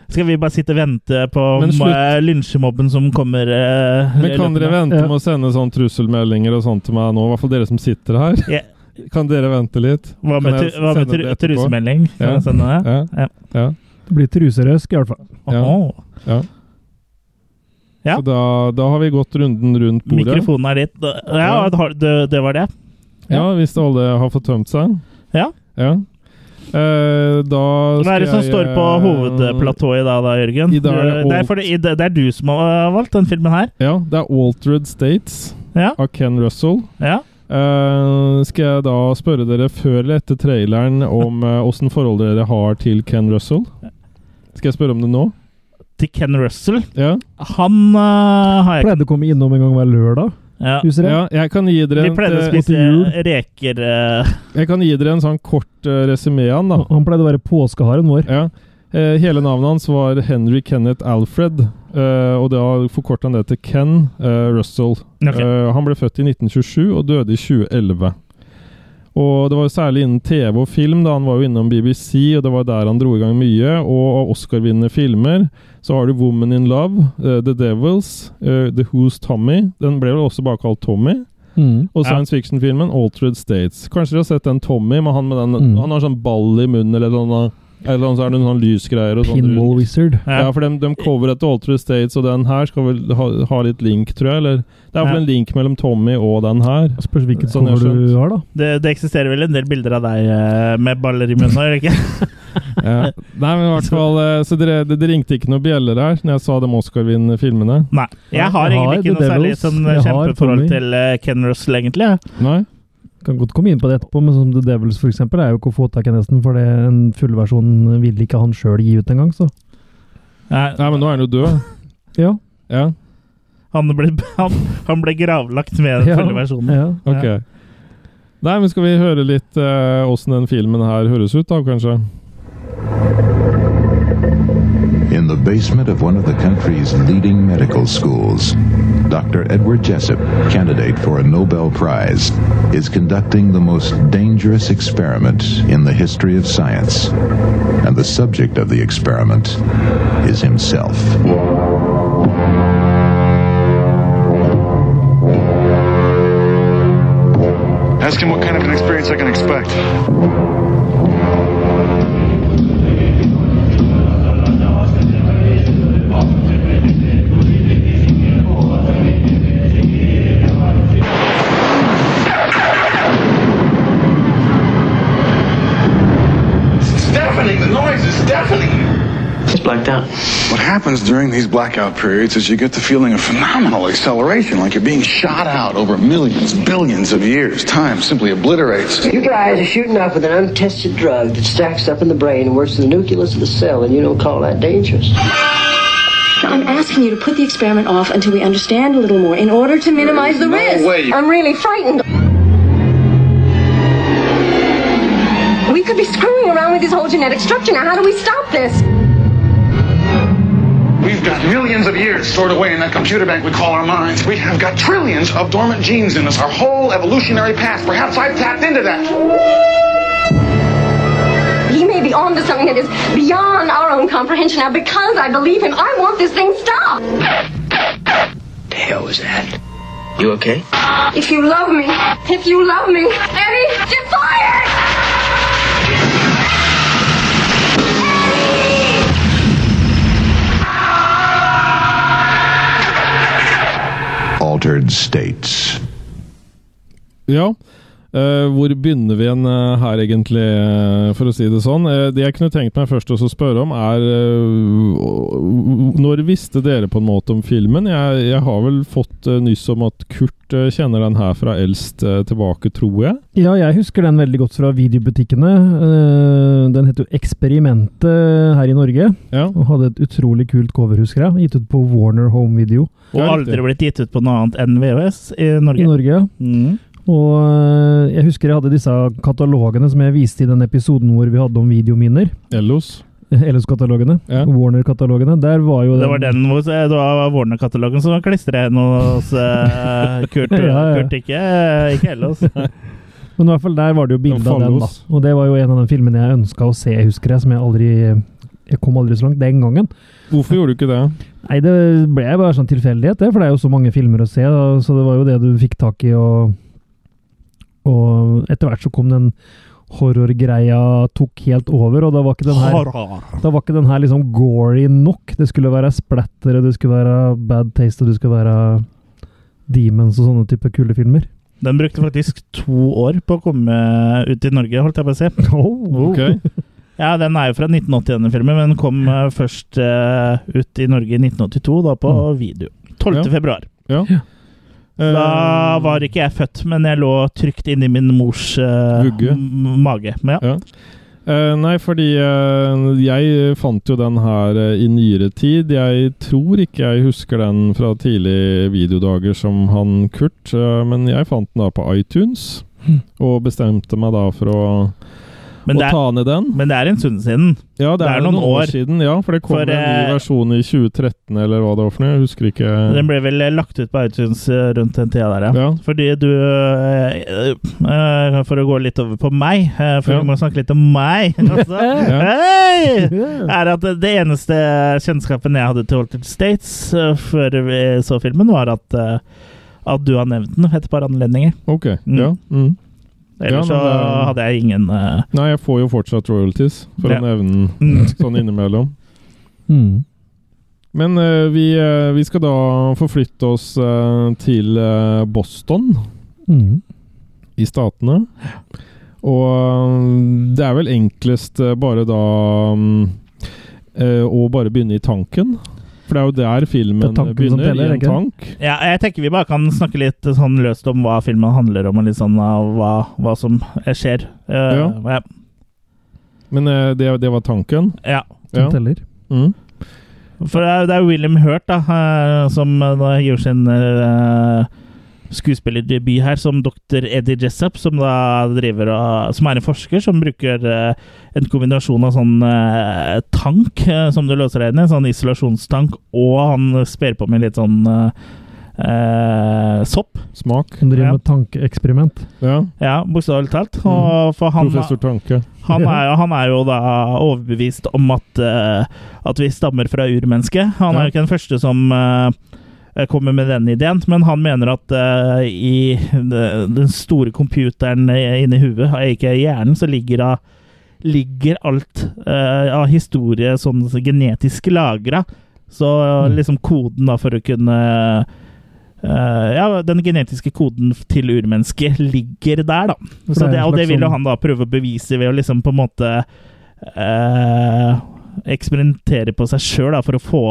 Skal vi bare sitte og vente på
Men
om,
slutt.
eh, lynsjemobben som kommer? eh,
Men kan dere
løpende?
vente
Ja.
med å sende sånn trusselmeldinger og sånt til meg nå? I hvert fall dere som sitter her.
Ja.
Kan dere vente litt?
Hva med,
Kan jeg
tru- hva med
sende
tru-
det etterpå?
trusemelding? Kan
Ja.
jeg sende det?
Ja.
Ja.
ja.
Det blir truserøsk, i hvert fall.
Ja.
Åh,
ja.
Ja.
Så da, da har vi gått runden rundt bordet.
mikrofonen er ditt. Ja, har- det, det var det.
Ja, hvis alle har fått tømt seg.
Ja.
ja. Eh, da skal jeg
Hva er det som står på
eh,
hovedplatået i dag, da, Jørgen?
I dag er det
Du- det, er
alt.
fordi, i- det er du som har eh, valgt den filmen her.
Ja, det er Altered States
Ja,
av Ken Russell.
ja.
Eh, skal jeg da spørre dere før eller etter traileren om eh, åssen forhold dere har til Ken Russell? Skal jeg spørre om det nå?
Til Ken Russell.
Ja.
Han eh, har jeg ikke
Pleide å komme innom en gang hver lørdag.
ja.
Husker
ja
jeg?
jeg, kan gi dere
Vi
en,
pleide å
eh,
spise
jul.
reker eh, (laughs)
jeg kan gi dere en sånn kort uh, resymé av han, da.
Han pleide å være påskeharen vår.
Ja. Eh, hele navnet hans var Henry Kenneth Alfred, eh, og da forkorta han det til Ken eh, Russell.
ok.
Eh, han ble født i 1927 og døde i 2011. Og det var jo særlig innen TV og film, da han var jo innom BBC, og det var der han dro i gang mye. Og av Oscar-vinnende filmer så har du Woman in Love, eh, The Devils, eh, The Who's Tommy Den ble vel også bare kalt Tommy.
Mm.
Og
Ja.
science fiction-filmen Altered States. Kanskje dere har sett den Tommy, men han, med den,
Mm.
han har sånn ball i munnen, eller sånn eller så er det noen sånn lysgreier og sånn.
Pinball Wizard.
Ja, for de, de coveret til Altered States, og den her skal vel ha, ha litt link, tror jeg? Eller? Det
Ja.
er vel en link mellom Tommy og den her.
Spørs hvilket
Sånn jeg
cover
skjønt.
du har, da.
Det, det eksisterer vel en del bilder av deg eh, med baller i munnen, eller ikke? (laughs)
Nei, men i hvert fall eh, Så dere, det, det ringte ikke noen bjeller her når jeg sa de Oscar-vinnende filmene?
Nei. Jeg har
Jeg har
egentlig ikke
The
noe særlig
Devils.
sånn
Jeg har
kjempeforhold
Tommy.
til eh, Ken Russell, egentlig. jeg.
Nei?
Kan godt komme inn på det etterpå, men sånn som The Devils for eksempel, er jo ikke å få tak i nesten, for det en fullversjon vil ikke han sjøl gi ut engang, så
Nei,
Nei, men nå er han jo død.
ja.
Ja,
Han ble, (laughs) han, han ble gravlagt med den
Ja.
fulle versjonen.
ja.
ok.
Ja.
Nei, men skal vi høre litt eh, åssen den filmen her høres ut, da, kanskje?
In the basement of one of the country's leading medical schools, Dr. Edward Jessup, candidate for a Nobel Prize, is conducting the most dangerous experiment in the history of science. And the subject of the experiment is himself.
Ask him what kind of an experience I can expect.
It's deafening. The noise is deafening.
She's blacked out.
What happens during these blackout periods is you get the feeling of phenomenal acceleration, like you're being shot out over millions, billions of years. Time simply obliterates.
You guys are shooting off with an untested drug that stacks up in the brain and works to the nucleus of the cell, and you don't call that dangerous.
I'm asking you to put the experiment off until we understand a little more in order to minimize the risk.
way.
I'm really frightened. We could be screwing around with his whole genetic structure now. How do we stop this?
We've got millions of years stored away in that computer bank we call our minds. We have got trillions of dormant genes in us, our whole evolutionary past. Perhaps I've tapped into that.
He may be onto something that is beyond our own comprehension. Now, because I believe him, I want this thing stopped.
The hell was that? You okay?
If you love me, if you love me, Eddie, get fired!
Altered states.
Ja. Eh, hvor begynner vi igjen eh, her, egentlig, eh, for å si det sånn? Eh, det jeg kunne tenkt meg først også å spørre om, er eh, Når visste dere på en måte om filmen? Jeg, jeg har vel fått eh, nyss om at Kurt eh, kjenner den her fra eldst eh, tilbake, tror jeg?
Ja, jeg husker den veldig godt fra videobutikkene. Eh, Den heter jo Eksperimentet her i Norge.
Ja.
Og hadde et utrolig kult cover, husker jeg. Gitt ut på Warner Home Video
Og aldri blitt gitt ut på noe annet enn VHS i
i
Norge.
Norge.
Mm.
Og eh, jeg husker jeg hadde disse katalogene som jeg viste i den episoden hvor vi hadde om videominner. (laughs)
Ellos.
LS-katalogene.
Ja.
Warner-katalogene. Der var jo
Det var den hvor det var Warner-katalogen som klistra igjen hos eh, Kurt.
Ja, ja.
Kurt ikke, eh, ikke altså. Ellos.
Men i hvert fall der var det jo bilde
Den
av den, da.
Fallos.
Og det var jo en av de filmene jeg ønska å se, husker jeg, som jeg aldri Jeg kom aldri så langt den gangen.
Hvorfor gjorde du ikke det?
Nei, det ble bare sånn tilfeldighet, det, for det er jo så mange filmer å se, da, så det var jo det du fikk tak i, og, og etter hvert så kom den horrorgreia tok helt over, og da var ikke den her, da var ikke den her liksom gory nok. Det skulle være splatter, og det skulle være bad taste, og det skulle være demons og sånne type kule
(laughs)
filmer.
Den brukte faktisk to år på å komme ut i Norge, holdt jeg på å si. Oh.
Ok.
Ja, den er jo fra 1980, denne filmen, men den kom eh, først eh, ut i Norge i 1982, da på video. 12.
Ja. Eh.
februar.
Ja.
(laughs) Da var ikke jeg født, men jeg lå trygt inni min mors eh,
Vugge.
m- mage. Men ja.
Ja. Eh, nei, fordi eh, jeg fant jo den her eh, i nyere tid. Jeg tror ikke jeg husker den fra tidlige videodager som han Kurt, eh, men jeg fant den da på iTunes. Og bestemte meg da for å,
Men,
å
det er,
ta ned den.
men det er en stund siden.
Ja, det, er, noen år. siden, ja, for det kom
For,
en ny
eh,
versjon i 2013 eller hva det var for noe. Jeg husker ikke
Den ble vel eh, lagt ut på iTunes eh, rundt den tida der, ja.
Ja.
Fordi du eh, eh, For å gå litt over på meg, eh, for
Ja.
vi må snakke litt om meg (laughs) også. Hei! er at det eneste kjennskapen jeg hadde til Altered States eh, før vi så filmen, var at, eh, at du har nevnt den ved et par anledninger.
Ok.
Mm.
Ja. Mm.
Ellers
Ja, men
så
det-
hadde jeg ingen eh,
Nei, jeg får jo fortsatt royalties, for
Ja.
å nevne den
mm.
sånn innimellom.
Mm.
Men eh, vi, eh, vi skal da forflytte oss eh, til eh, Boston
Mm.
i statene. Og eh, det er vel enklest eh, bare da mm, eh, å bare begynne i tanken. For det er jo der
Det er
filmen
tanken som
begynner,
teller,
i
ikke
en
det?
tank.
Ja, jeg tenker vi bare kan snakke litt sånn løst om hva filmen handler om, og litt sånn av hva, hva som skjer. Eh, ja.
Men eh, det, det var tanken.
ja.
Som
Ja.
teller.
Mm.
For det er, det er William Hurt, da, eh, som eh, da gir sin eh, skuespillerdebut her som dr. Eddie Jessup, som da driver og, som er en forsker som bruker eh, en kombinasjon av sånn eh, tank eh, som du løser deg inn i, sånn isolasjonstank, og han sper på med litt sånn eh, eh, sopp.
Smak.
Som driver
Ja.
med tankeeksperiment.
Ja.
Ja, bokstavelig talt. Og for
eh,
han,
Professor Tanke.
han, er, jo- han er jo da overbevist om at, eh, at vi stammer fra urmennesket. Han er jo ikke den første som eh, kommer med den ideen, men han mener at eh, i de- den store computeren inni huet, ikke hjernen, så ligger da ligger alt eh, av historie sånn genetisk lagra. Så liksom koden da for å kunne eh, Ja, den genetiske koden til urmennesket ligger der, da.
For
Så det,
det er en
og det
slags
vil jo
sånn-
han da prøve å bevise ved å liksom på en måte eh, eksperimentere på seg sjøl for å få,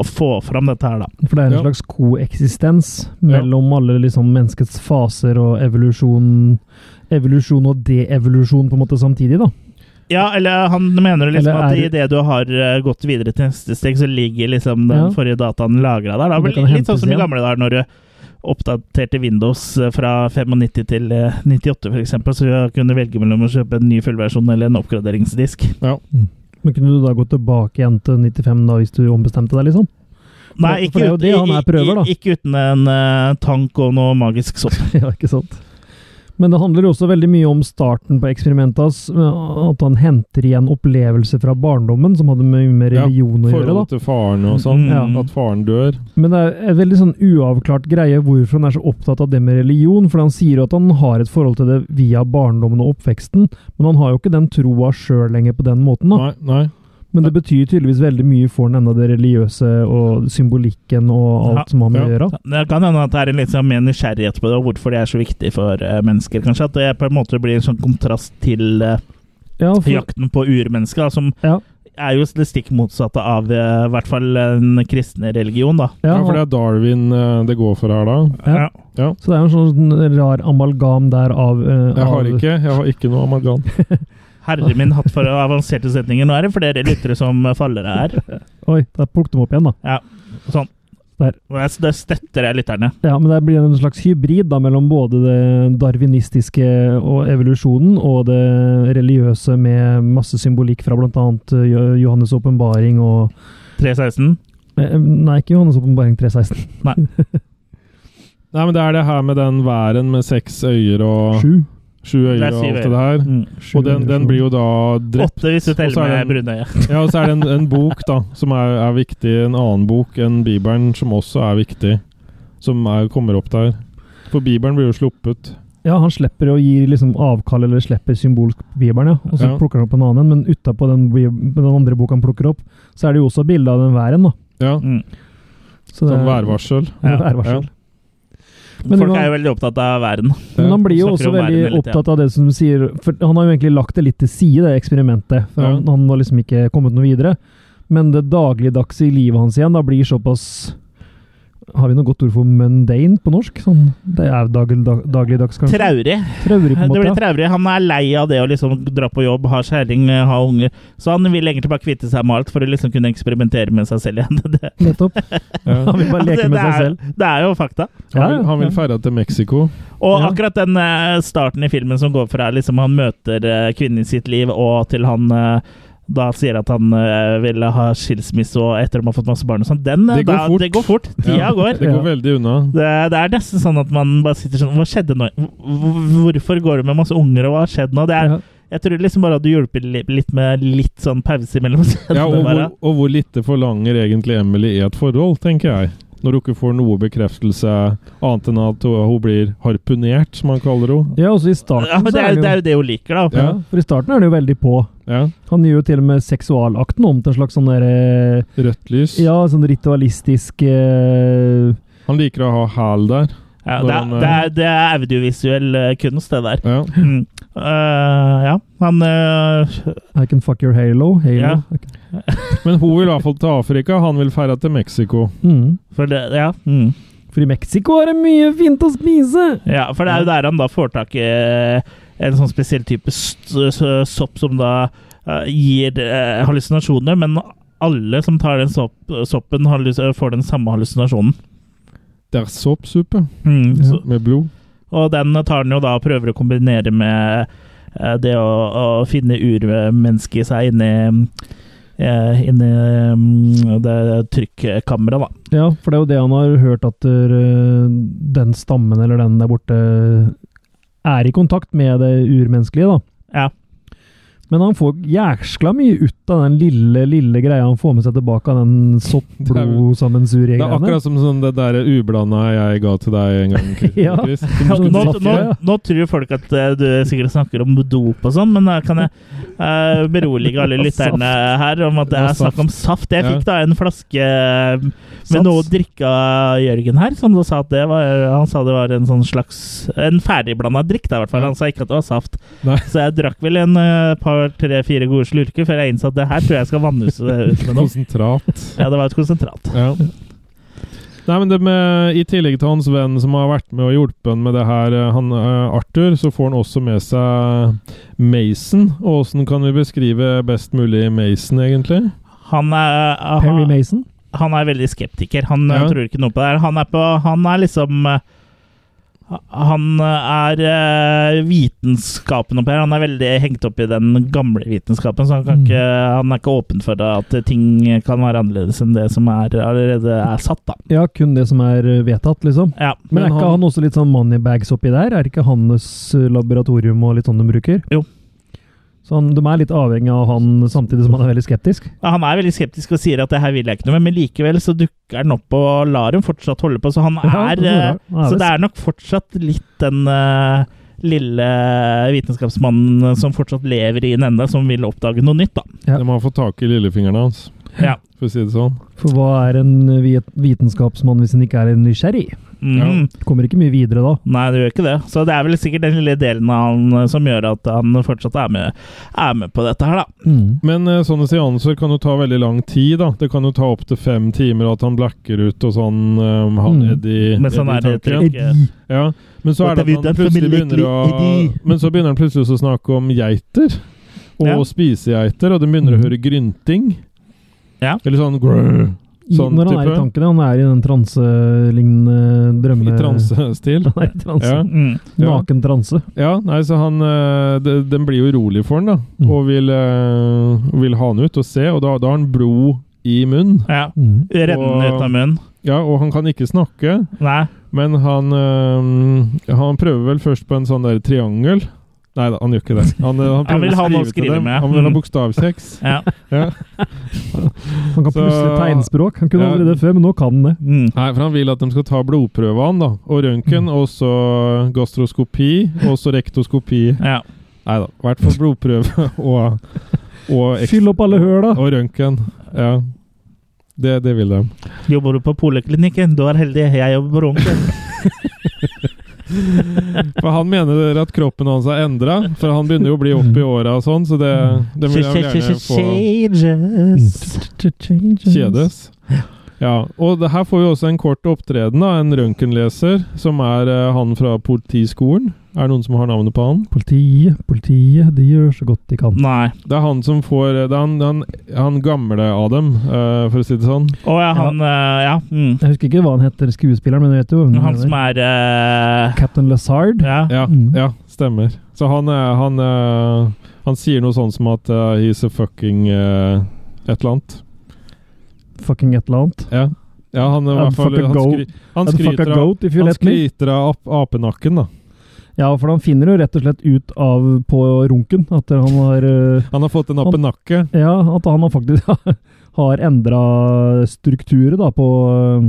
å få fram dette her, da.
For det er en
Ja.
slags koeksistens mellom alle liksom menneskets faser og evolusjon Evolusjon og deevolusjon på en måte samtidig, da.
Ja, eller han mener liksom
Eller
at
er-
i det du har eh, gått videre til neste steg, så ligger liksom den
Ja.
forrige dataen lagra der. Da.
Det
Vel,
kan
Litt sånn
hentes
som i
igjen.
gamle dager, når du oppdaterte Windows eh, fra 95 til eh, 98 f.eks., så du kunne velge mellom å kjøpe en ny fullversjon eller en oppgraderingsdisk.
Men kunne du da gå tilbake igjen til 95 da, hvis du ombestemte deg, liksom?
Nei, ikke,
for det er jo
ut-
det han
i-
her prøver, da.
i- ikke uten en eh, tank og noe magisk sopp.
(laughs) ja, ikke sant? Men det handler jo også veldig mye om starten på eksperimentet hans. At han henter igjen opplevelser fra barndommen, som hadde mye med
Ja,
religion å gjøre. da.
Forholdet til faren og sånn.
Mm.
At faren dør.
Men det er et veldig sånn uavklart greie hvorfor han er så opptatt av det med religion. For han sier jo at han har et forhold til det via barndommen og oppveksten, men han har jo ikke den troa sjøl lenger på den måten. da.
Nei, nei.
Men det betyr tydeligvis veldig mye for han ennå, det religiøse og symbolikken og alt
Ja,
som har med å
ja.
gjøre.
Det kan hende at det er en litt sånn mer nysgjerrighet på det, og hvorfor det er så viktig for eh, mennesker, kanskje. At det på en måte blir en sånn kontrast til eh,
Ja,
For-
for,
jakten på urmennesker, da, som
Ja.
er jo det stikk motsatte av eh, i hvert fall den kristne religion, da.
ja,
Ja, for det er Darwin eh, det går for her, da.
Ja. Så det er jo en sånn rar amalgam der av, eh,
Jeg har
av
ikke, jeg har ikke noe amalgam.
Herre min hatt for avanserte setninger. Nå er det flere lyttere som faller her.
Oi, der plukket de opp igjen, da.
Sånn.
Der.
Og jeg- Det støtter jeg lytterne.
Ja, men det blir en slags hybrid da, mellom både det darwinistiske og evolusjonen og det religiøse med masse symbolikk fra bl.a. Johannes' åpenbaring og
316.
eh, Nei, ikke Johannes' åpenbaring 316.
Nei, men det er det her med den væren med seks øyer og
Sju.
sju øyer
Det er
og
syv
alt det der.
Mm.
Og den, den blir jo da drept.
Åtte hvis du
Og så
teller
er
med
det
brunøye.
Ja, og så er det en, en bok da, som er, er viktig. En annen bok enn Bibelen, som også er viktig. Som er, kommer opp der. For Bibelen blir jo sluppet.
Ja, han slipper å gi liksom, avkall eller slipper symbolsk på bibelen, ja. og så
Ja.
plukker han opp en annen en. Men utapå den, bi- den andre boka han plukker opp, så er det jo også bilde av den væren. da.
Ja,
Mm.
Så det
Som
er-
værvarsel.
Ja,
Ja.
værvarsel. Men
Folk
det var-
er jo veldig opptatt av verden.
Men han blir jo
Snakker
også
om verden
veldig
hele tiden.
opptatt av det som du sier For han har jo egentlig lagt det litt til side, det eksperimentet. For
Ja.
han, han har liksom ikke kommet noe videre. Men det dagligdagse i livet hans igjen da blir såpass Har vi noe godt ord for mundane på norsk? Sånn, det er jo dagligdag, dagligdags, kanskje?
Traurig.
Traurig,
Det
på en
blir
måte.
traurig. Han er lei av det å liksom dra på jobb, ha kjerring, ha unger. Så han vil egentlig bare kvitte seg med alt for å liksom kunne eksperimentere med seg selv igjen. (laughs) Det,
Nettopp.
Ja.
Han vil bare leke
det, det,
med seg
er,
selv.
det er jo fakta.
(laughs) Ja,
Han vil, han vil ferda til Mexico.
Og
Ja.
akkurat den eh, starten i filmen som går fra liksom han møter eh, kvinnen i sitt liv, og til han eh, da sier at han eh, vil ha skilsmisse og etter at de har fått masse barn og sånn, den eh,
Det går
da,
fort.
Det går fort. Tida
(laughs)
Ja,
går.
Det går veldig unna.
Det, det er nesten sånn at man bare sitter sånn Hva skjedde nå? Hvor- Hvorfor går du med masse unger, og hva har skjedd nå? Det er,
Ja.
Jeg tror liksom bare at du hjelper li- litt med litt sånn pause imellom.
Ja, og, hvor,
bare.
og hvor lite forlanger egentlig Emily i et forhold, tenker jeg. Når hun ikke får noe bekreftelse annet enn at hun hun blir harpunert, som han kaller henne.
ja, også i starten
Ja, men
så
det, er, det er
jo
jo det hun liker, da.
ja, For i starten er det jo veldig på.
Ja.
Han gjør jo til og med seksualakten om til en slags sånn derre
Rødt lys.
Ja, sånn ritualistisk eh,
Han liker å ha hæl der.
Ja, det, er, det, er, det er audiovisuell eh, kunst, det der.
Ja.
Mm. Eh, ja, han eh,
I can fuck your halo. halo.
Ja.
I can-
Men hun vil i hvert fall til Afrika, han vil ferda til Mexico.
Mm.
For det, ja, mm.
For i Mexico er det mye fint å spise!
ja, for det er jo der han da får tak i eh, en sånn spesiell type st s- sopp som da eh, gir eh, hallusinasjoner, men alle som tar den sopp soppen, hallus- får den samme hallusinasjonen.
Bittersoppsuppe
Mm, så,
med blod.
Og den tar han jo da og prøver å kombinere med eh, det å, å finne urmennesket i seg inni eh, Inni mm, det trykkammeret, da.
Ja, for det er jo det han har hørt at eh, den stammen eller den der borte eh, er i kontakt med det urmenneskelige, da.
Ja.
Men han får jæskla mye ut av den lille, lille greia han får med seg tilbake av (laughs) den
Det er
soppblodsammensuriegreiene.
akkurat som sånn det der ublanda jeg ga til deg en gang. Chris.
(laughs) Ja.
Chris.
Nå,
skulle
nå,
sagt
nå,
det, ja.
nå tror folk at eh, du sikkert snakker om dop og sånn, men da kan jeg eh, berolige alle lytterne her om at det er
Og saft.
snakk om saft. Jeg
Ja.
fikk da en flaske eh,
Sats.
med noe å drikke av Jørgen her, som da sa at det var Han sa det var en sånn slags En ferdigblanda drikk, da, i hvert fall. Han sa ikke at det var saft.
Nei.
Så jeg drakk vel en eh, par, tre, fire gode slurker før jeg innså at det her tror jeg skal vannhuse ut med
(laughs)
noe.
Konsentrat.
Ja, det var et konsentrat.
Ja. Nei, men det med, I tillegg til hans venn som har vært med og hjulpet han med det her, eh, han eh, Arthur, så får han også med seg Mason. Og åssen kan vi beskrive best mulig Mason, egentlig?
Han er
Perry Mason.
han er veldig skeptiker. Han eh,
Ja.
tror ikke noe på det her. Han er, på, han er liksom eh, Han er eh, vitenskapen oppi her. Han er veldig hengt opp i den gamle vitenskapen, så han, kan
Mm.
ikke, han er ikke åpen for at ting kan være annerledes enn det som er, allerede er satt, da.
Ja, kun det som er eh, vedtatt, liksom.
Ja.
Men,
Men
er ikke
han-
han, også litt sånn moneybags oppi der? Er ikke hans eh, laboratorium og litt sånn de bruker?
Jo.
Så han, de er litt avhengig av han samtidig som han er veldig
(laughs)
skeptisk?
Han er veldig skeptisk og sier at det her vil jeg ikke noe med, men likevel så dukker han opp og lar dem fortsatt holde på, så han
Ja,
er
det er
eh,
rart. Han er
Så
det.
det er nok fortsatt litt den eh, lille vitenskapsmannen som fortsatt lever i den enda, som vil oppdage noe nytt, da.
Ja.
De har fått tak i lillefingrene hans,
Ja.
for å si det sånn.
For hva er en vit- vitenskapsmann hvis han ikke er en nysgjerrig?
Mm.
Kommer ikke mye videre da.
Nei, det gjør ikke det. Så det er vel sikkert den lille delen av han eh, som gjør at han fortsatt er med, er med på dette her, da.
Mm.
Men eh, sånne seanser kan jo ta veldig lang tid. da. Det kan jo ta opptil fem timer, og at han blacker ut og sånn um, Han
Mm.
Eddie
Men sånn
Eddie
er det,
Tanken.
tror jeg.
Eddie.
Ja, Men så
Og
er
det er
det at han
videre
plutselig begynner å
familie- Eddie.
Men så begynner han plutselig også å snakke om geiter. Og
Ja.
spisegeiter, og de begynner å
Mm.
høre grynting.
Ja.
Eller sånn grrr,
I,
Sånn
når han er
type?
i tankene, han er i den transelignende drømme...
i transestil.
(laughs) Han er i transe.
Ja.
Mm.
ja.
Naken transe.
ja, nei, så han eh, de- Den blir jo urolig for han da.
Mm.
Og vil, eh, vil ha han ut og se, og da, da har han blod i munnen.
Ja.
Mm.
Rennende
Og-
ut av munnen.
Ja, og han kan ikke snakke.
Nei.
Men han, øh, han prøver vel først på en sånn der triangel. Nei da, han gjør ikke det. Han, øh, han,
(laughs) Han vil
prøver
ha
å
noe å
skrive til
skrive
dem.
med.
Han vil ha
Mm.
bokstavkjeks.
Ja.
ja.
Han kan
Så-
plutselig tegnspråk. Han kunne
Ja.
aldri det før, men nå kan han det.
Mm.
Nei, for han vil at de skal ta blodprøve av han, da. Og røntgen, og så gastroskopi, og så rektoskopi.
ja.
Nei da, i hvert fall blodprøve (laughs) og, og eks-
Fyll opp alle høla!
Og røntgen. Ja. Det, det vil de.
Jobber du på poliklinikken? Du er heldig. Jeg jobber på (laughs) Runken.
For han mener at kroppen hans er endra, for han begynner jo å bli opp i åra og sånn, så det, det vil jeg gjerne få
Changes.
Kjedes. Ja, og det her får vi også en kort opptreden av en røntgenleser, som er eh, han fra politiskolen. Er det noen som har navnet på han?
Politiet, politiet, de gjør så godt de kan.
Nei.
Det er han som får eh, Det er han, han, han gamle Adam, eh, for å si det sånn.
Å ja, han eh, Ja. Mm.
Jeg husker ikke hva han heter, skuespilleren, men jeg vet jo hvem
Han som
er.
er eh,
Captain Lazard.
Ja.
Ja,
Mm.
ja stemmer. Så han, eh, han, eh, han sier noe sånn som at eh, he's a fucking eh, et eller annet.
Fucking et eller annet.
Ja, ja han, eh, i
I'd
hvert fall,
fuck a
han,
goat.
skry, han
I'd fuck a
skryter av,
goat if you
han
let me.
skryter av ap apenakken, da.
Ja, for han finner jo rett og slett ut av på runken at han har eh,
Han har fått en apenakke.
Ja, at han har faktisk (laughs) har endra strukturet da på eh,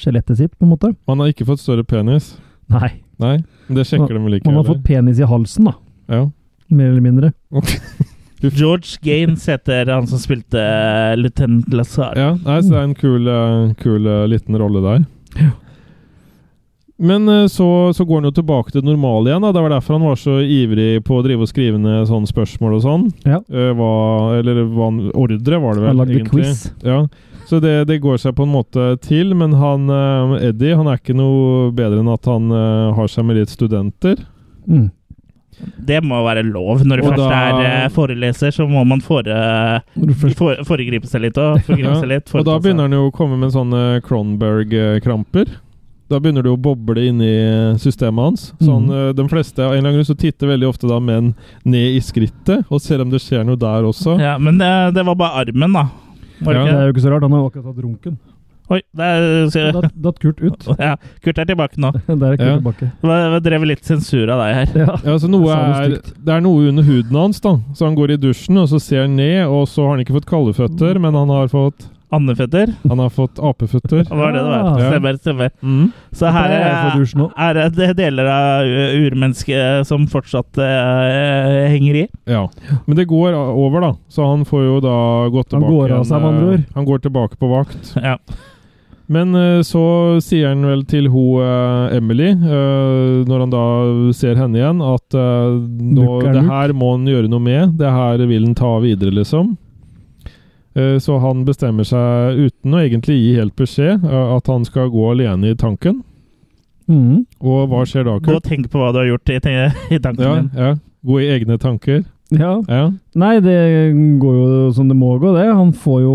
skjelettet sitt, på en måte.
Han har ikke fått større penis.
Nei.
Nei, det sjekker de vel ikke.
Han har
eller?
fått penis i halsen, da.
ja.
Mer eller mindre.
George Gaines heter han som spilte eh, Lieutenant Lazar.
Ja, nei, så det er en kul, eh, kul eh, liten rolle der. Men eh, så, så går han jo tilbake til det normale igjen. Da. Det var derfor han var så ivrig på å drive og skrive ned sånne spørsmål og sånn.
Ja.
Eh, Hva, eller hva han- ordre, var det vel.
Han lagde
egentlig.
quiz.
Ja. Så det, det går seg på en måte til, men han eh, Eddie han er ikke noe bedre enn at han eh, har seg med litt studenter.
Mm.
Det må være lov. Når det
Og
først
da-
er eh, foreleser, så må man fore,
Når du først-
fore,
(laughs)
foregripe seg litt. Og, foregripe
Ja.
seg litt
Og da
foreta seg.
begynner han jo å komme med sånne Cronberg-kramper. Da begynner det å boble inni systemet hans. Så han,
Mhm.
eh, de fleste av en eller annen grunn så titter veldig ofte da menn ned i skrittet og ser om det skjer noe der også.
Ja, men det, det var bare armen, da. Var det
Ja,
Det
ikke?
er jo ikke så rart, han har jo akkurat hatt runken.
Oi, der ser
Datt, datt Kurt ut. (laughs)
ja, Kurt er tilbake nå.
Der er Kurt
Ja.
tilbake.
Det var- det drev litt sensur av deg her.
Ja.
Ja, så noe
Sa
er,
noe
det er noe under huden hans, da. Så han går i dusjen, og så ser han ned, og så har han ikke fått kalde føtter,
Mhm.
men han har fått,
Andeføtter.
han har fått
(laughs)
apeføtter.
Det var det det var.
Ah.
Stemmer, stemmer.
Mm.
Så her
Det er jeg for
er,
dusjen nå.
er det deler av u- urmennesket som fortsatt eh, henger i.
Ja. Men det går a- over, da. Så han får jo da gått
Han
tilbake
går av
igjen,
seg, med andre
eh,
ord.
Han går tilbake på vakt.
Ja.
Men eh, så sier han vel til ho eh, Emily, eh, når han da ser henne igjen, at eh, nå,
Nuk er
det
nuk.
her må han gjøre noe med. Det her vil han ta videre, liksom. Eh, Så han bestemmer seg uten å egentlig gi helt beskjed eh, at han skal gå alene i tanken.
Mhm.
Og hva skjer da,
Gå
Kurt?
og tenk på hva du har gjort i, i tanken
Ja,
din.
ja. Gå i egne tanker.
Ja.
Ja.
Nei, det går jo som det må gå, det. Han får jo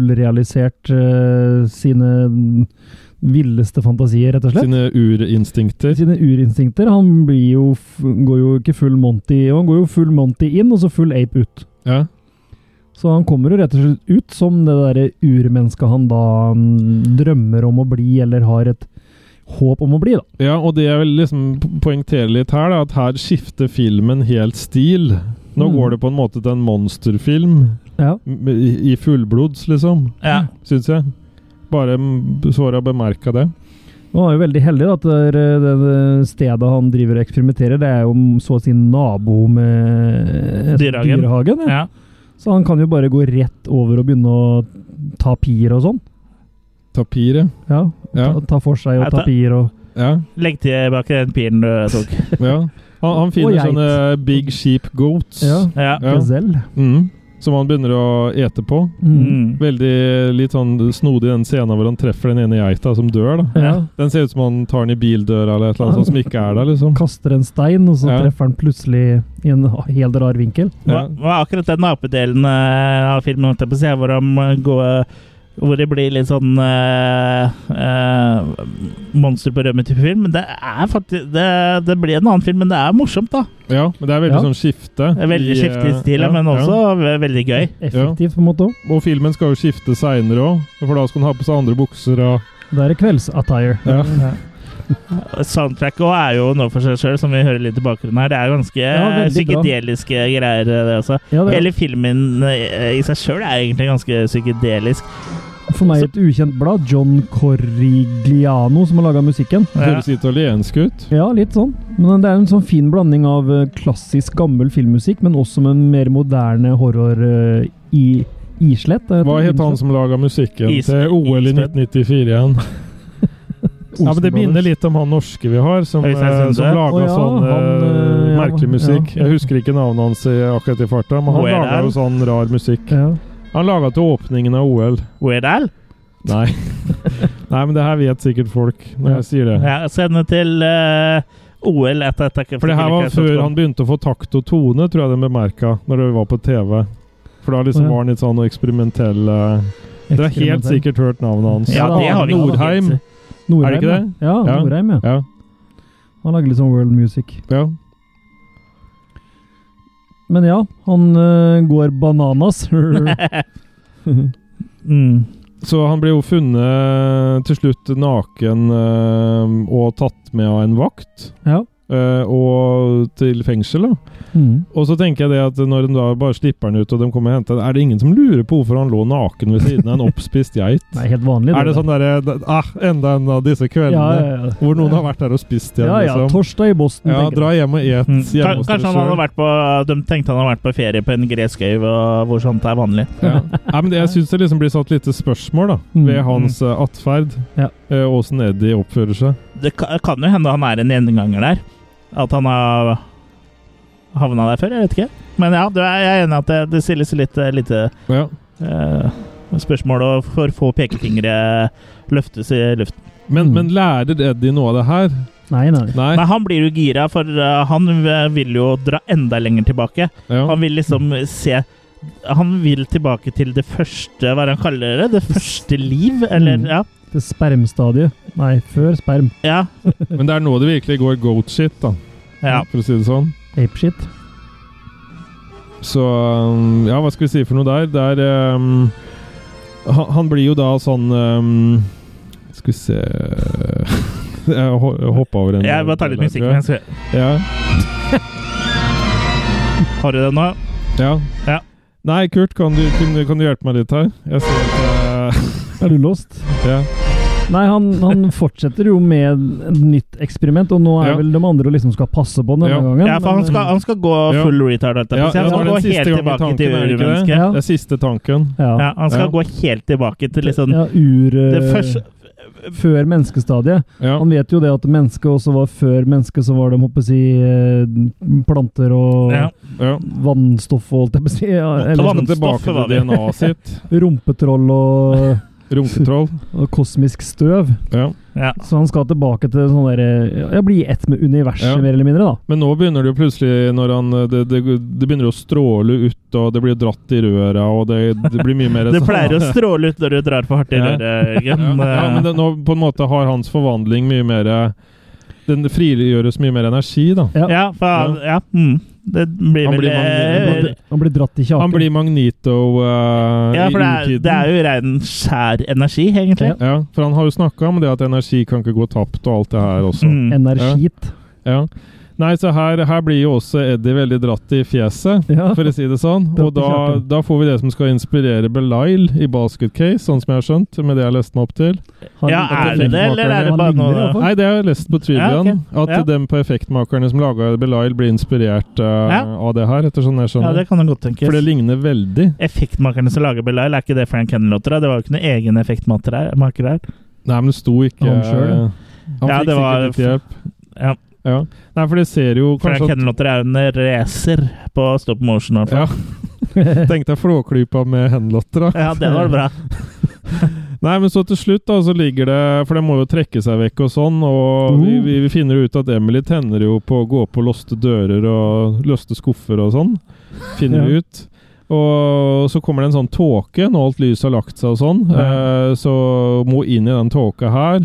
fullrealisert eh, sine villeste fantasier, rett og slett.
Sine urinstinkter.
Sine urinstinkter. Han blir jo, f- går jo ikke full Monty og Han går jo full Monty inn, og så full ape ut.
Ja.
Så han kommer jo rett og slett ut som det derre urmennesket han da mm, drømmer om å bli, eller har et håp om å bli, da.
Ja, og det jeg vil liksom po- poengtere litt her, da, at her skifter filmen helt stil. Nå
Mm.
går det på en måte til en monsterfilm
Ja.
m- i i fullblods, liksom,
Ja.
syns jeg. Bare m- så har jeg bemerka det.
Og han er jo veldig heldig da, at det, er, eh, det det stedet han driver og eksperimenterer, det er jo mm, så å si nabo med et
Dyrehagen.
dyrehagen ja.
ja.
Så han kan jo bare gå rett over og begynne å ta pier og sånn.
Tapiret.
Ja,
Ja.
Ta, ta for seg og
Jeg
ta
tar-
pier og
Ja.
Legg tilbake den piren du tok.
ja. Han,
(laughs)
han
Og
finner
geit.
sånne big sheep goats
Ja.
Ja.
Ja.
gazell.
mm, som han begynner å ete på.
Mm.
Mm.
Veldig litt sånn snodig den scenen hvor han treffer den ene geita som dør. da.
Ja.
Den ser ut som han tar den i bildøra eller et eller annet sånt som ikke er der. liksom.
Kaster en stein, og så
Ja.
treffer han plutselig i en helt rar vinkel.
Hva,
Ja.
hva er akkurat den apedelen eh, av filmen holdt jeg på å si, hvor, han, eh, går, hvor det blir litt sånn eh, eh, monster på rømme-type film. Men det er faktisk det, det blir en annen film, men det er morsomt, da.
Ja, men det er
Ja.
veldig sånn skifte.
Det er Veldig
i,
skiftig
eh,
stil,
ja,
men
ja.
også ve- veldig gøy.
Effektivt, på en måte òg.
Og filmen skal jo skifte seinere òg, for da skal han ha på seg andre bukser og
Det er kvelds-attire.
Ja.
Soundtracket også er jo noe for seg sjøl, som vi hører litt i bakgrunnen her. Det er ganske
Ja, veldig bra.
psykedeliske greier, eh, det også.
Ja, det er
Hele filmen eh, i seg sjøl er egentlig ganske psykedelisk.
for meg et ukjent blad. John Corrigliano, som har laga musikken.
Ja.
Høres italiensk ut.
Ja, litt sånn. Men det er en sånn fin blanding av eh, klassisk gammel filmmusikk, men også med en mer moderne horror eh, i islett. er det
Hva
et
het han
innslett?
som laga musikken
Is-
til OL i
Isbjørn.
1994 igjen? Ja, men Det
Olsen
minner
Brothers.
litt om han norske vi har, som,
Øystein
eh,
Sunde.
som laga
Å, ja,
sånn
han,
eh,
eh, ja,
merkelig musikk.
ja.
Jeg husker ikke navnet hans i, akkurat i farta, men han
Hvor er
laga
han?
jo sånn rar musikk.
Ja.
Han laga til åpningen av OL.
Weird Al?
Nei. Nei, men det her vet sikkert folk når jeg sier det.
Ja, send det til eh, OL etter attacken.
For det her var før han begynte å få takt og tone, tror jeg de bemerka, når det var på TV. For da liksom
Å, ja.
var han litt sånn eksperimentell eh, Dere har helt
Eksperimentell.
sikkert hørt navnet hans.
Ja, det har vi ikke.
Nordheim.
Norheim,
Er det ikke det?
Ja, ja
Ja.
Norheim, ja.
Ja.
Han lager litt sånn world music.
ja.
Men ja, han eh, går bananas. (laughs)
mm.
Så han ble jo funnet til slutt naken eh, og tatt med av en vakt.
ja.
eh, og til fengsel, da.
Mm.
Og så tenker jeg det at når de da bare slipper han ut, og de kommer og henter han, er det ingen som lurer på hvorfor han lå naken ved siden av en oppspist geit?
Det er helt vanlig.
Er det sånn derre ah, Enda en av disse
Ja,
kveldene
ja, ja.
hvor noen har vært der og spist igjen,
ja, ja.
liksom.
Torsdag i Boston,
Ja,
tenker jeg.
dra hjem og et
Mm. Ka-
hjemme hos dere
Kanskje han hadde
selv.
vært på De tenkte han hadde vært på ferie på en gresk øy hvor hvor sånt er vanlig.
Ja. Nei, men det, jeg syns det liksom blir satt lite spørsmål da,
Mm.
ved hans eh, atferd.
Ja.
eh, Åssen Eddie oppfører seg.
Det ka- kan jo hende han er en gjenganger der. At han har havna der før, jeg vet ikke. Men ja, du er, jeg er enig i at det, det stilles litt eh, lite
Ja.
eh, spørsmål, og for få pekefingre løftes i luften.
Men,
Mm.
men lærer Eddie noe av det her?
Nei, nei.
Nei.
Men han blir jo gira, for eh, han vil jo dra enda lenger tilbake.
Ja.
Han vil liksom se han vil tilbake til det første Hva er det han kaller det? Det første liv? Eller
Mm.
ja.
Til spermstadiet. Nei, før sperm.
Ja.
Men det er nå det virkelig går goat shit, da,
ja.
for å si det sånn.
Apeshit.
Så um, Ja, hva skal vi si for noe der? Det er um, han, han blir jo da sånn um, Skal vi se (laughs) Jeg ho- jeg hoppa over en
Jeg bare tar litt
del her,
musikk
tror jeg.
mens vi
Ja.
Har du det nå?
Ja.
Ja.
Nei, Kurt, kan du, kan, du- kan du hjelpe meg litt her? Jeg ser at
Er du låst?
eh, (laughs) ja.
Nei, han, han fortsetter jo med et nytt eksperiment, og nå er
Ja.
vel de andre og liksom skal passe på denne
Ja.
gangen.
Ja, for han
men, eh,
skal, han skal gå
Ja.
full retard. holdt jeg på
Ja,
å si. han skal
ja, det
gå
var den
helt
siste gangen i
tilbake
tanken,
til
er det ikke det?
urmennesket.
Ja.
Det er siste tanken.
ja.
Ja, han skal
Ja. sånn.
gå helt tilbake til liksom
ja, ur...
det
eh,
første
Før menneskestadiet.
Ja.
Han vet jo det at mennesket også var før mennesket, så var det, håper jeg si, eh, planter og
ja.
ja.
vannstoff og alt jeg på å si. Ja,
Eller
eller sånn
sånn
skal tilbake
var
til
vi.
DNA-et
(laughs)
sitt.
rumpetroll og,
Rumpetroll.
og kosmisk støv.
Ja.
Ja.
Så han skal tilbake til sånn derre Ja, bli ett med universet,
Ja.
mer eller mindre, da.
Men nå begynner det jo plutselig når han, det, det, det begynner å stråle ut, og det blir dratt i røra, og det, det blir mye mer
(laughs)
sånn,
Det pleier å stråle ut når du drar for hardt i
Ja.
røret,
Ja,
Jørgen.
ja, men det, nå på en måte har hans forvandling mye mer Den frigjøres mye mer energi, da.
Ja, for han, ja. Mm. Det blir
Han
vel
blir
Han
eh,
blir- Han blir dratt i kjaken.
Han blir Magnito eh,
Ja,
i
for det er,
urtiden.
det er jo rein skjær energi, egentlig.
Ja.
ja, for han har jo snakka om det at energi kan ikke gå tapt, og alt det her også.
Mm.
Energit.
Ja. Nei, så her, her blir jo også Eddie veldig dratt i fjeset,
Ja.
for å si det sånn.
Dratt
Og
i
da,
kjaken.
da får vi det som skal inspirere Belial i basket case, sånn som jeg har skjønt, med det jeg har lest meg opp til.
Han,
Ja, er det det, eller er det
han
bare
ligner i
noe
hvert fall.
Nei, det har jeg lest på Trivian.
Ja, ok.
At
Ja.
dem på Effektmakerne som laga Belial, blir inspirert eh,
Ja.
av det her, etter sånn jeg
Ja,
skjønner.
det kan jo godt tenkes.
For det ligner veldig.
Effektmakerne som lager Belial, er ikke det Frank Henry-låter? da? Det var jo ikke noen egen effektmaker her. maker her.
Nei, men det sto ikke eh,
Han selv,
Han
Ja,
fikk
det var-
sikkert litt hjelp.
Ja.
Ja. Nei, for det ser jo
Frank
kanskje at
Henry-låter er jo en racer på stop motion. i hvert fall. (laughs)
ja. Tenk deg Flåklypa med henlotter, da.
Ja, det var bra.
Nei, men så til slutt, da, så ligger det For de må jo trekke seg vekk og sånn, og vi,
Oh.
Uh.
vi, vi finner ut at Emily tenner jo på å gå på låste dører og løste skuffer og sånn. Finner vi ut. Og så kommer det en sånn tåke når alt lyset har lagt seg og sånn. Eh, så må hun inn i den tåka her,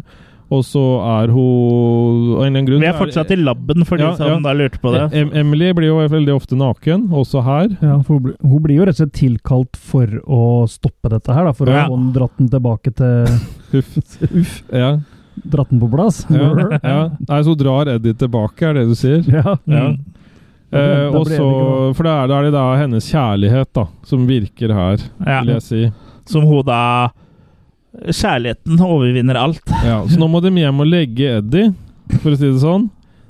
og så er hun Av en eller annen
(laughs)
grunn
Vi er
så
fortsatt i laben, for de
Ja,
som
ja.
da lurte på det.
Em Emily blir jo veldig ofte naken, også her.
Ja, for hun, blir- hun blir jo rett og slett tilkalt for å stoppe dette her, da, for
Ja.
å få den- dratt den tilbake til
(laughs)
Huff. Uff. Ja.
Dratt den på plass.
Ja. ja. Nei, så drar Eddie tilbake, er det du sier?
(laughs) Ja.
Ja.
Mm.
Eh,
Da
og
ble det
så,
ikke
for det er, det er det da hennes kjærlighet da, som virker her, vil
Ja.
jeg si.
Som hun da Kjærligheten overvinner alt.
Ja, så nå må de hjem og legge Eddie, for å si det sånn.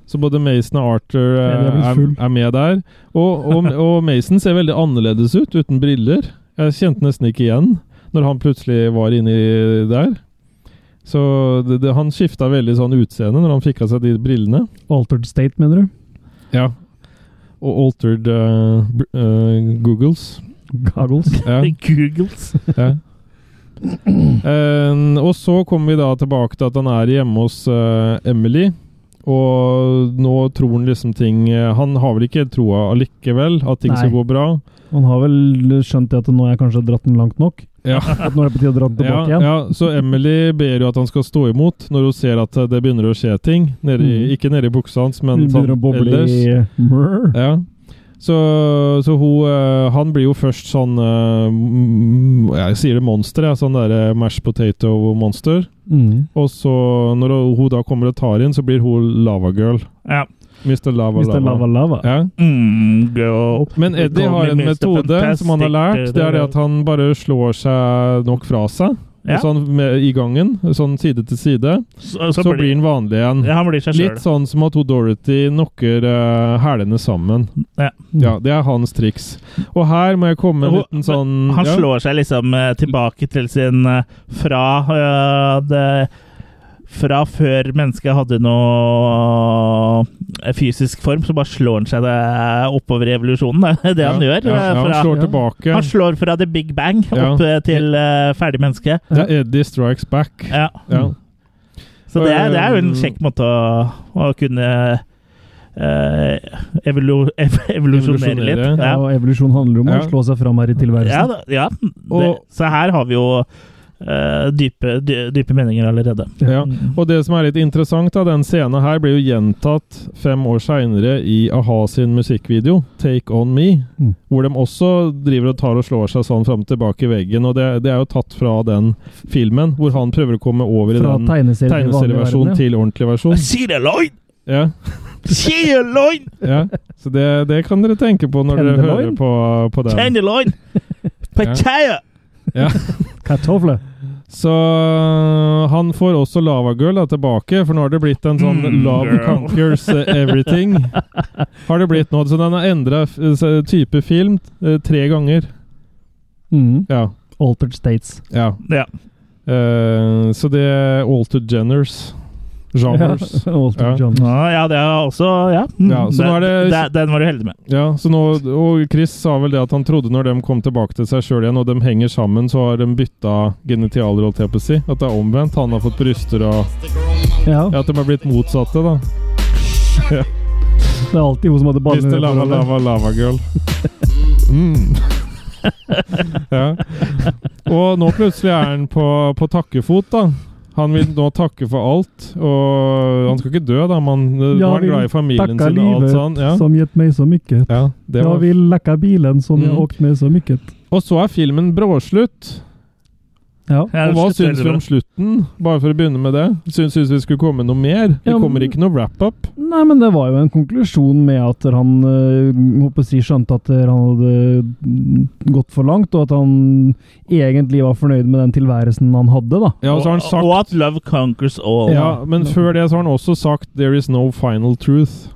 Så både Mason og Arthur eh,
Eddie er blitt
er,
full.
er med der. Og, og, og Mason ser veldig annerledes ut, uten briller. Jeg kjente nesten ikke igjen når han plutselig var inni der. Så det, det, han skifta veldig sånn utseende når han fikk av seg de brillene.
Altered state, mener du?
Ja. Og altered eh, br- eh, googles.
Goggles. (laughs)
Ja.
(laughs) Googles.
Ja. Eh, og så kommer vi da tilbake til at han er hjemme hos eh, Emily. Og nå tror han liksom ting eh, Han har vel ikke troa allikevel, at ting skal
Nei.
gå bra.
Han har vel skjønt det at nå har jeg kanskje dratt den langt nok?
Ja.
At nå er det på tide å dra den
Ja,
tilbake igjen?
ja, så Emily ber jo at han skal stå imot når hun ser at eh, det begynner å skje ting. Nedi,
Mm.
Ikke nedi buksa hans, men
Det begynner å
sånn
boble
ellers.
i Mrr.
Ja. Så, så hun, eh, han blir jo først sånn eh, mm, Jeg sier det monster, jeg. Sånn derre mash potato-monster.
Mm.
Og så, når hun da kommer og tar inn, så blir hun lavagirl.
Ja.
Mr. Lava
Hvis det er lava
Lava.
lava.
Ja.
Mm, go.
Men Eddie har en
Mr.
metode som han har lært.
Fantastic.
Det er det at han bare slår seg nok fra seg.
Ja.
Sånn med, i gangen, sånn side til side.
Så,
Så, blir han vanlig igjen.
ja, han blir seg sjøl.
Litt sånn som at hun Dorothy knocker eh, hælene sammen.
Ja.
Ja, Det er hans triks. Og her må jeg komme med en
Hun-
liten sånn
Han
ja.
slår seg liksom eh, tilbake til sin eh, Fra eh, det Fra før mennesket hadde noe eh, fysisk form, så bare slår han seg det eh, oppover i evolusjonen. (laughs) Det er det han
Ja,
gjør.
Ja,
eh,
ja, han
fra,
slår tilbake.
han slår fra the big bang
Ja.
opp eh, til eh, ferdig menneske.
Det er Eddie strikes back.
Ja. Mm.
Ja. Mm. eh,
Så det er, det er jo en kjekk måte å, å kunne eh, evolu ev evolusjonere litt.
Evolusjonere,
Ja.
Ja, og evolusjon handler om
Ja.
å slå seg fram her i
Ja,
tilværelsen.
da- ja. Det,
Og-
så her har vi jo eh, dype, dy, dype meninger allerede.
Ja. Og det som er litt interessant, da, den scenen her blir jo gjentatt fem år seinere i a-ha sin musikkvideo, 'Take On Me',
Mm.
hvor de også driver og tar og slår seg sånn fram og tilbake i veggen. Og det, det er jo tatt fra den filmen, hvor han prøver å komme over i
Fra
den
tegneserie til vanlig verden.
tegneserieversjonen til ordentlig versjon.
Sier det løgn!
Ja,
Sier det (laughs) løgn!
ja. Så det, det kan dere tenke på når dere hører
Tenderloin?
på, på den.
Kjenner løgn! Partiet!
Ja.
Ja. Kartofle.
Så øh, han får også lavagirl da, tilbake, for nå har det blitt en sånn
Mm,
love
girl.
conquers øh,
(laughs)
everything. Har det blitt nå, Så den har endra øh, type film eh, tre ganger.
Mm.
Ja.
Altered States.
ja.
Ja.
Eh, så det er altered geners. Genres.
Ja, Altered
Ja.
Genres.
Ja, ja, det er også Ja, Mm.
Ja, så nå er det-
den, den var du heldig med.
Ja, så nå, og Chris sa vel det at han trodde når de kom tilbake til seg sjøl igjen, og de henger sammen, så har de bytta genitalier, holdt jeg på å si. At det er omvendt. Han har fått bryster og
Ja.
Ja, at de har blitt motsatte, da.
Det er alltid hun som hadde
Mr.
ballene. i det
Lava
forholdet.
Lava Lava Girl. Mm. (laughs) ja. Og nå plutselig er han på, på takkefot, da. Han vil nå takke for alt, og han skal ikke dø, da. Man,
Ja,
nå er han
vil
glad i familien
Takka
sin og alt
livet
sånn. Ja.
som gitt meg så mye.
Ja, det
Jeg
var.
vil lekka bilen som jeg
Mm.
åkt med så mye.
Og så er filmen bråslutt.
Ja.
Ja,
Og hva
det slutter
syns vi om
veldig
slutten? Bare for å begynne med det. Syns, syns vi skulle komme noe mer? Det
Ja, men-
kommer ikke noe wrap-up.
Nei, men det var jo en konklusjon med at han øh, håper å si, skjønte at øh, han hadde mm, gått for langt, og at han egentlig var fornøyd med den tilværelsen han hadde, da.
Ja, og så har han
bra. Og
sagt
at love conquers all.
ja, Men før det så har han også sagt 'There is no final truth'.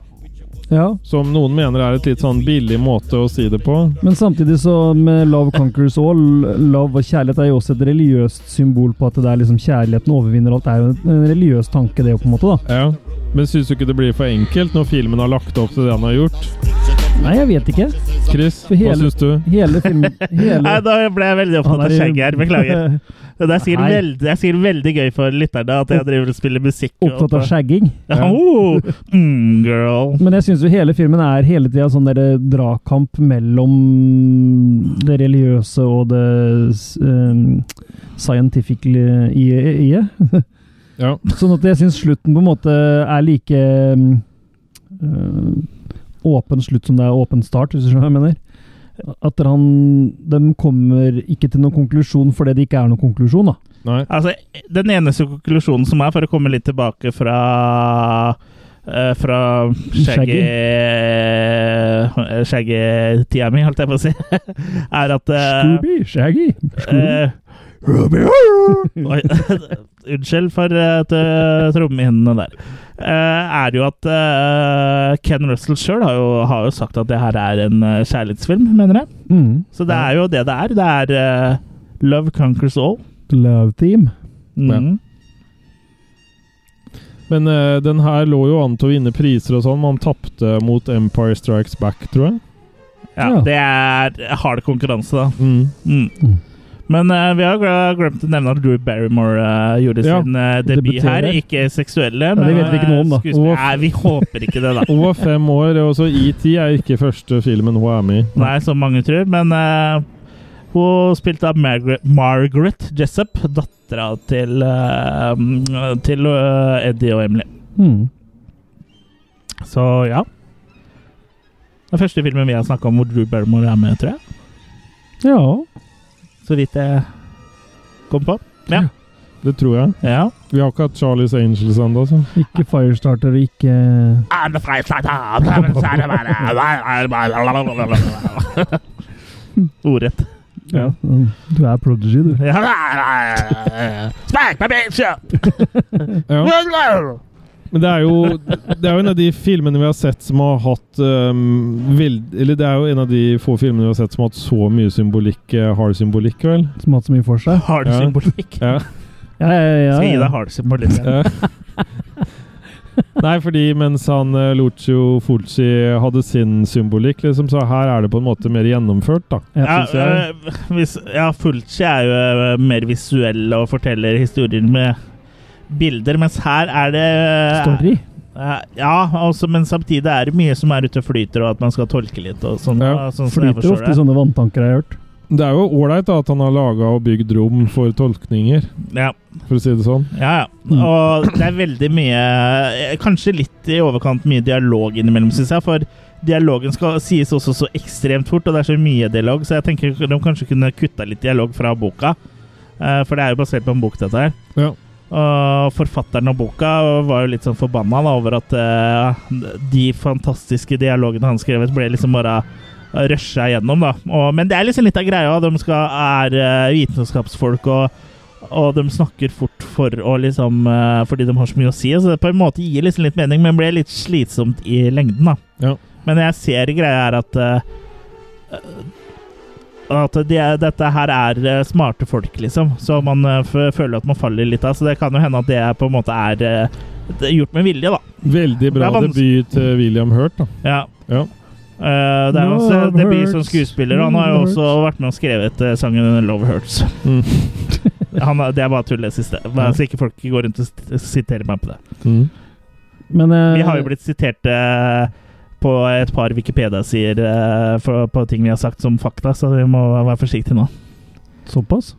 Ja.
Som noen mener er et litt sånn billig måte å si det på.
Men samtidig så med Love Conquers All, love og kjærlighet er jo også et religiøst symbol på at det er liksom kjærligheten overvinner alt. Det er jo en- en religiøs tanke, det jo, på en måte, da.
Ja. Men syns du ikke det blir for enkelt når filmen har lagt opp til det han har gjort?
Nei, jeg vet ikke.
Chris,
For
hva
hele-
syns du?
Hele filmen
(laughs) Nei,
hele,
da ble jeg veldig opptatt av skjegget her. (laughs) Beklager. Det er sikkert
Nei.
veldig, det er sikkert veldig gøy for lytterne at jeg driver og spiller musikk. og-
Opptatt av skjegging.
Ja. Oh, mm, girl.
Men jeg syns jo hele filmen er hele tida sånn der dragkamp mellom det religiøse og det um, scientific eh, i, i, i
Ja.
Sånn at jeg syns slutten på en måte er like mm, øh, åpen slutt som det er åpen start, hvis du skjønner hva jeg mener. At han, de kommer ikke til noen konklusjon fordi det ikke er noen konklusjon, da.
Nei.
Altså, den eneste konklusjonen som er, for å komme litt tilbake fra eh, fra skjegget Skjeggetida mi, holdt jeg på å si, (laughs) er at eh,
Scooby, Shaggy,
(laughs)
Scooby.
Eh, Oi, (laughs) Unnskyld for uh, trommehinnene der. Eh, er jo at eh, Ken Russell sjøl har, jo- har jo sagt at det her er en eh, kjærlighetsfilm, mener jeg.
Mm.
Så det er jo det det er. Det er eh, Love Conquers All.
Love Team.
Mm.
Men eh, den her lå jo an til å vinne priser og sånn. Man tapte mot Empire Strikes Back, tror jeg.
Ja,
Ja.
det er hard konkurranse, da.
Mm.
Mm.
Mm.
Men eh, vi har gle- glemt å nevne at Drew Barrymore eh, gjorde
Ja,
sin eh, debut her.
debuterer.
Ikke seksuelle,
det vet vi ikke noe om, da.
eh, skuespill- Nei, vi håper ikke
(laughs)
det, da.
Hun var fem år, og så ET er ikke første filmen hun er med i.
Nei, som mange tror, men eh, hun spilte av Margaret, Margaret Jessup, dattera til, eh, mm, til eh, Eddie og Emily.
Mm.
Så ja. Den første filmen vi har snakka om hvor Drew Barrymore er med, tror jeg.
Ja.
Så vidt jeg kom på. Ja.
Det tror jeg.
ja.
Vi har ikke hatt Charlies Angels ennå, så.
Ikke Firestarter, ikke
Ordrett.
ja. Du er prodigy, du.
Smack my bitch up!
Ja. Men det er jo Det er jo en av de filmene vi har sett som har hatt um, veld, Eller det er jo en av de få filmene vi har sett som har hatt så mye symbolikk, eh, hard symbolikk, vel?
Som har hatt så mye for seg.
Hard
Ja.
symbolikk.
Ja.
Ja, ja, ja,
Skal gi
ja.
deg hard symbolikk.
Ja. (laughs) Nei, fordi mens han eh, Lucio Fulci hadde sin symbolikk, liksom, så her er det på en måte mer gjennomført, da.
Ja,
synes jeg.
øh, hvis, ja, Fulci er jo øh, mer visuell og forteller historier med bilder, mens her er det øh,
Story.
Eh, Ja, altså, men samtidig er det mye som er ute og flyter, og at man skal tolke litt og sånn.
Ja,
og sånn som jeg
Flyter
forstår
ofte sånne vanntanker, jeg har hørt.
Det er jo ålreit da, at han har laga og bygd rom for tolkninger,
det. Ja.
for å si det sånn.
Ja, ja. Og det er veldig mye eh, Kanskje litt i overkant mye dialog innimellom, syns jeg. For dialogen skal sies også så ekstremt fort, og det er så mye dialog, så jeg tenker de kanskje kunne kutta litt dialog fra boka. Eh, For det er jo basert på en bok, dette her.
Ja.
Og forfatteren av boka var jo litt sånn forbanna da, over at eh, de fantastiske dialogene han skrevet, ble liksom bare rusha gjennom, da. Og, men det er liksom litt av greia. De skal, er eh, vitenskapsfolk og og de snakker fort for å liksom eh, Fordi de har så mye å si. Så det på en måte gir liksom litt mening, men blir litt slitsomt i lengden, da.
Ja.
Men jeg ser greia er at eh, At de, dette her er eh, smarte folk, liksom. Så man eh, f føler at man faller litt av. Så det kan jo hende at det på en måte er eh, det er gjort med vilje, da.
Veldig
Det
bra
er vans-
debut til William Hurt, da.
Ja.
Ja.
Eh, det er hans eh,
Love
debut
hurts.
som skuespiller, og han har jo
Love
også vært med og skrevet eh, sangen 'Love Hurts'.
Mm.
(laughs) Han, er- det er bare tull, det siste. Bare Så ikke folk går rundt og sit- siterer meg på det.
Mm.
Men eh,
Vi har jo blitt sitert eh, på et par Wikipedia-sider eh, for- på ting vi har sagt som fakta, så vi må være forsiktige nå.
såpass.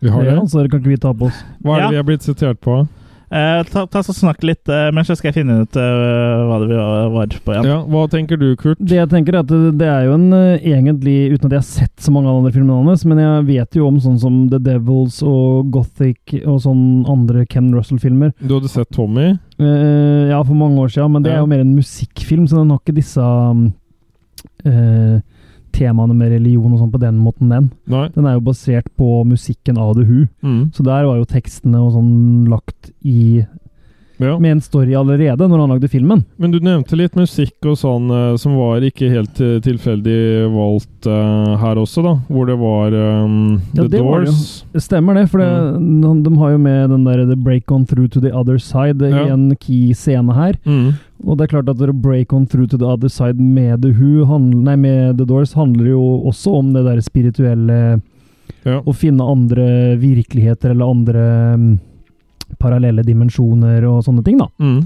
Vi har
Ja,
det. altså.
så det kan ikke vi ta på oss.
Hva er det
Ja.
vi er blitt sitert på?
Eh, ta, ta så Snakk litt, eh, men så skal jeg finne ut eh, hva det var var på igjen.
Ja, hva tenker du, Kurt?
Det jeg tenker er at det, det er jo en eh, egentlig, uten at jeg har sett så mange av de andre filmene hans, men jeg vet jo om sånn som The Devils og Gothic og sånn andre Ken Russell-filmer.
Du hadde sett Tommy?
Eh, ja, for mange år siden, men det er jo
Ja.
mer en musikkfilm, så den har ikke disse um, eh, temaene med religion og sånn på den måten, den.
Nei.
Den er jo basert på musikken av The Who,
Mm.
så der var jo tekstene og sånn lagt i
Ja.
Med en story allerede, når han lagde filmen.
Men du nevnte litt musikk og sånn eh, som var ikke helt eh, tilfeldig valgt eh, her også, da. Hvor det var eh,
Ja,
The
det var det jo.
Doors.
Det Stemmer det, for det, de, de har jo med den der The Break On Through To The Other Side
Mm. Ja.
i en key scene her.
Mm.
Og det er klart at The Break On Through To The Other Side med The Who, handl- nei, med The Doors, handler jo også om det der spirituelle
Ja.
Å finne andre virkeligheter eller andre mm, parallelle dimensjoner og sånne ting, da.
Mm.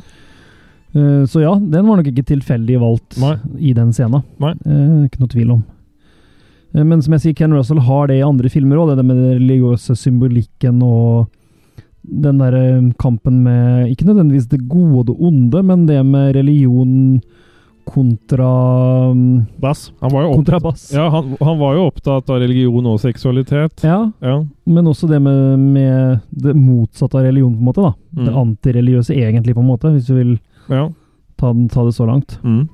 Eh, Så ja, den var nok ikke tilfeldig valgt
Nei.
i den scenen.
Nei.
Eh, Ikke noe tvil om. Eh, Men som jeg sier, Ken Russell har det i andre filmer òg, det der med den religiøse symbolikken og den derre kampen med Ikke nødvendigvis det gode og det onde, men det med religion kontra mm,
Bass.
Han var jo opp...
kontrabass.
Ja, han, han var jo opptatt av religion og seksualitet.
ja,
Ja.
men også det med, med det motsatte av religion, på en måte. da. Det
Mm.
antireligiøse egentlig, på en måte, hvis du vil
ja.
ta, den, ta det så langt.
Mm.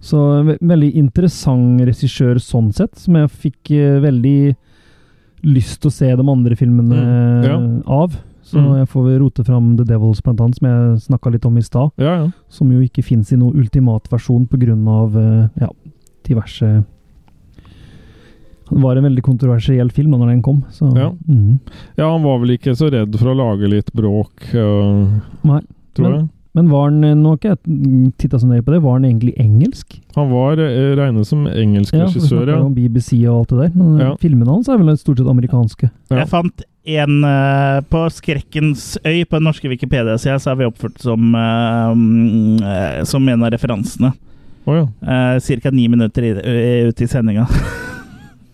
Så en ve veldig interessant regissør sånn sett, som jeg fikk eh, veldig lyst til å se de andre filmene
Mm, ja.
eh, av. Så
Mm.
jeg får vel rote fram The Devils, blant annet, som jeg snakka litt om i stad.
ja, ja.
Som jo ikke fins i noen ultimatversjon pga. Uh, ja, diverse Det var en veldig kontroversiell film da når den kom. Så,
Ja.
mhm.
Ja, han var vel ikke så redd for å lage litt bråk, øh,
Nei,
tror
men-
jeg.
Men var den eh, nå har ikke jeg titta så nøye på det, var den egentlig engelsk?
Han var eh, regnet som engelsk
Ja, for vi
regissør,
snakker
ja.
jo om BBC og alt det der, men eh,
Ja.
filmene hans er vel stort sett amerikanske.
Ja.
Jeg fant en eh, på Skrekkens øy på den norske Wikipedia-sida, så er vi oppført som, eh, mm, eh, som en av referansene.
Å ja.
Uh, Ca. ni minutter i, ø- ut i sendinga. (laughs)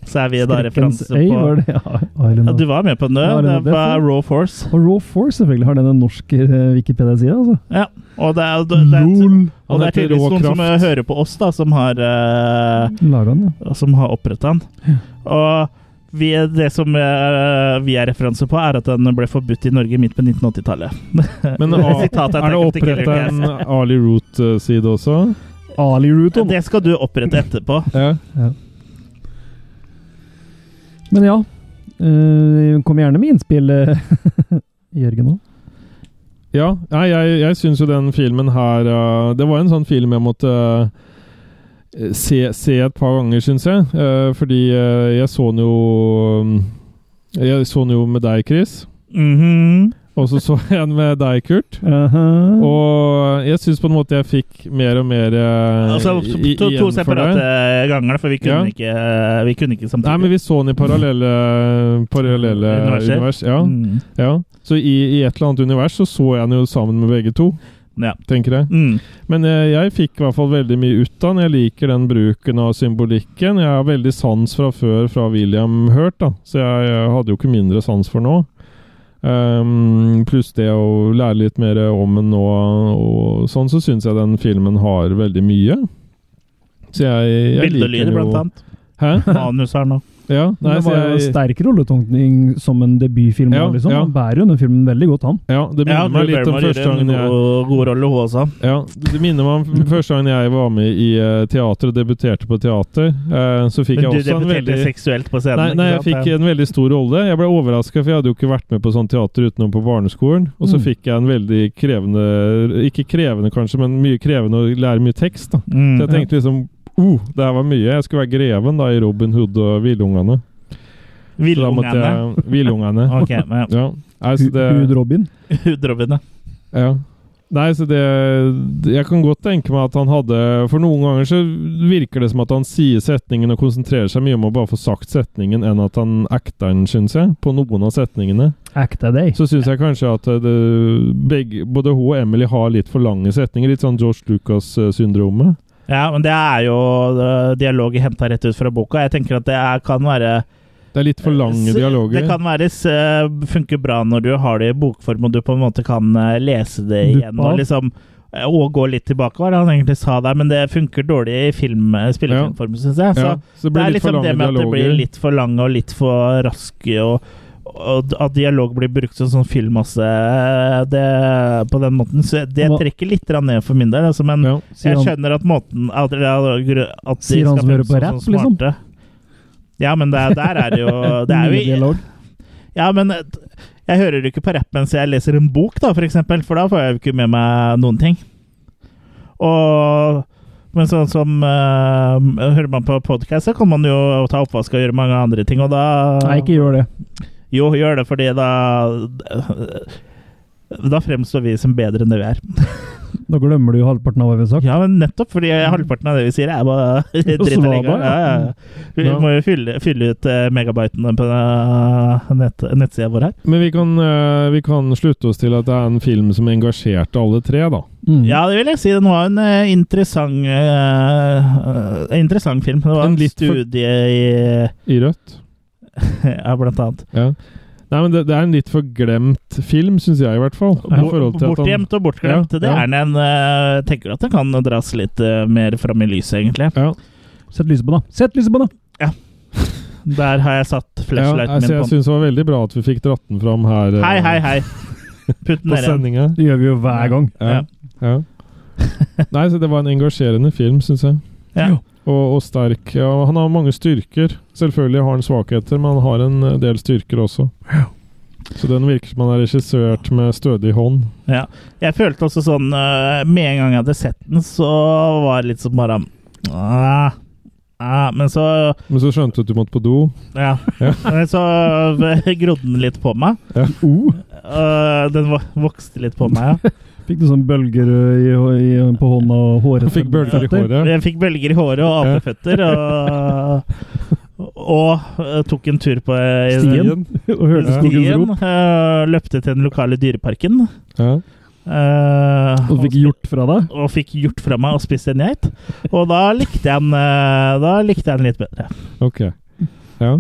så er vi da
Skrekkens
referanse
øy,
på
var det? Ja, Island
ja,
of-
Du var med på den, du.
Ja, det var
det var
det.
Raw Force.
Og Raw Force selvfølgelig har den en norsk eh, Wikipedia-side, altså.
Ja. Og det er, det, det er,
Lol.
og
Han
det er
heter
tydeligvis
Rå
noen som eh,
Kraft.
hører på oss, da, som har eh,
Laga den, ja.
som har opprettet den. Og vi, det som eh, vi er referanse på, er at den ble forbudt i Norge midt på 1980-tallet.
(laughs)
(laughs)
Men
Det er
ah,
sitatet jeg
er det
tenker til Killer
opprettet en
Case.
Ali Root-side også?
Ali Root, om.
Det skal du
Mm.
opprette etterpå.
Ja.
Men ja. eh, kom gjerne med innspill, eh, (laughs) Jørgen òg.
Ja, nei, jeg, jeg syns jo den filmen her eh, Det var en sånn film jeg måtte eh, se, se et par ganger, syns jeg. Eh, fordi eh, jeg så den jo mm, Jeg så den jo med deg, Chris.
Mhm.
Og så så jeg den med deg, Kurt.
Mm.
Og jeg syns på en måte jeg fikk mer og mer eh,
Altså,
i-
to, to
igjen for det.
separate ganger, for vi kunne,
Ja.
ikke, vi kunne ikke samtidig.
Nei, men vi så den i parallelle, parallelle
Universer.
univers. Ja,
Mm.
ja. Så i, i et eller annet univers så så jeg den jo sammen med begge to.
Ja.
tenker jeg.
Mm.
Men eh, jeg fikk i hvert fall veldig mye ut av den. Jeg liker den bruken av symbolikken. Jeg har veldig sans fra før fra William Hurt, da. så jeg, jeg hadde jo ikke mindre sans for nå. Ehm, pluss det å lære litt mer om den nå, og sånn, så syns jeg den filmen har veldig mye. Så jeg, jeg
Bilde og lyd,
den jo.
blant
(laughs)
annet.
Hæ?
Manus her nå.
Ja,
Men
nei,
det
så
var jo
jeg,
sterk rolletolkning som en debutfilm.
Ja,
også, liksom.
ja.
Han bærer jo den filmen veldig godt, han.
ja, det minner meg litt om første gangen jeg
god, god rolle, hun også.
Ja, det minner meg om første gangen jeg var med i eh, teater og debuterte på teater. eh, så fikk
Men
jeg
du
også en
debuterte
veldig
seksuelt på scenen.
Nei, nei, jeg
ikke sant?
fikk en veldig stor rolle. Jeg ble overraska, for jeg hadde jo ikke vært med på sånn teater utenom på barneskolen. Og så
Mm.
fikk jeg en veldig krevende Ikke krevende, kanskje, men mye krevende å lære mye tekst. da.
Mm.
Så jeg tenkte liksom Oh, det her var mye. Jeg skulle være greven da i Robin Hood og Villungene. Så da måtte
Villungene.
jeg- Villungene.
(laughs) Ok, men
Ja. Nei, så det-
Hud Robin.
Hudrobbene.
Ja. Nei, så det Jeg kan godt tenke meg at han hadde For noen ganger så virker det som at han sier setningen og konsentrerer seg mye om å bare få sagt setningen, enn at han acter den, syns jeg, på noen av setningene.
Act a day.
Så syns jeg kanskje at eh, det, begge, både hun og Emily har litt for lange setninger. Litt sånn George Lucas-syndromet.
Ja, men det er jo eh, dialoger henta rett ut fra boka. Jeg tenker at det er, kan være
Det er litt for lange
S-
dialoger.
Eh, Det kan være s- eh, funker bra når du har det i bokform, og du på en måte kan eh, lese det
Duppe
igjen. Og
av.
liksom eh, og gå litt tilbake, hva er det han egentlig sa der, men det funker dårlig i film, eh, spillefilmform, syns jeg. Så
ja, så
det
det blir
er
litt for
liksom
lange
det med at det
dialoger.
blir litt for lange og litt for raske, og, og at dialog blir brukt som sånn fyllmasse eh, det- på den måten. Så det
Hva-
trekker litt grann ned for min del, altså, men
ja.
Sier
jeg
han.
skjønner at måten At, at de
Sier han
skal
som hører på
fremstå
rap,
som
liksom?
smarte. Ja, men der, der er det jo
(laughs)
Det er
Mye
jo
dialog.
ja, men eh, jeg hører det ikke på rapp mens jeg leser en bok, da, for eksempel, for da får jeg jo ikke med meg noen ting. Og Men sånn som eh, Hører man på podkast, så kan man jo ta oppvask og gjøre mange andre ting, og da
Nei, ikke gjør det.
Jo, gjør det, fordi da eh, da fremstår vi som bedre enn det vi er.
Nå glemmer du jo halvparten av hva vi har sagt.
Ja, men nettopp, fordi halvparten av det vi sier, er
(laughs)
bare dritt. og
svar
legger.
bare.
Ja, ja. Vi
Ja.
må jo fylle, fylle ut eh, megabytene på eh, nett, nettsida vår her.
Men vi kan, eh, vi kan slutte oss til at det er en film som engasjerte alle tre, da.
Mm.
Ja, det vil jeg si. Den var en eh, interessant eh, eh, interessant film. Det var
En
en,
litt for-
studie i (laughs)
I rødt.
Ja, blant annet.
Ja. Nei, men det, det er en litt forglemt film, syns jeg i hvert fall. i forhold til at han-
Bortgjemt og bortglemt.
Ja,
Det
ja.
er den en eh, Tenker at den kan dras litt eh, mer fram i lyset, egentlig.
Ja,
Mm. Sett lyset på det. Sett lyset på det!
Der har jeg satt
ja
flashlighten min
altså, jeg
på den.
syns det var veldig bra at vi fikk dratt den fram her eh,
Hei, hei,
(laughs)
hei. Putt den
på
ned igjen.
sendinga.
Det gjør vi jo hver gang.
Ja.
(laughs)
Ja. Nei, så det var en engasjerende film, syns jeg.
Ja.
Og, og sterk. Ja, han har mange styrker. Selvfølgelig har han svakheter, men han har en eh, del styrker også. Så den virker som han er regissert med stødig hånd.
Ja. Jeg følte også sånn øh, Med en gang jeg hadde sett den, så var det litt sånn bare «Ah, ah», Men så
Men så skjønte du at du måtte på do.
Ja. (laughs) Men Så eh, grodde den litt på meg.
Oh,
Øh, den vo- vokste litt på meg, ja.
fikk du sånn bølger i, i, på hånda og håret?
Du fikk bølger i håret.
Jeg fikk bølger i håret og
Ja.
apeføtter. Og, og øh, tok en tur på øh,
Stien. (laughs) og hørte skogens
Stien
rop.
øh, løpte til den lokale dyreparken.
Ja.
øh,
Og fikk gjort fra deg.
og fikk gjort fra meg og spiste en geit. Og da likte jeg den, eh, da likte jeg den litt bedre.
Ok. Ja.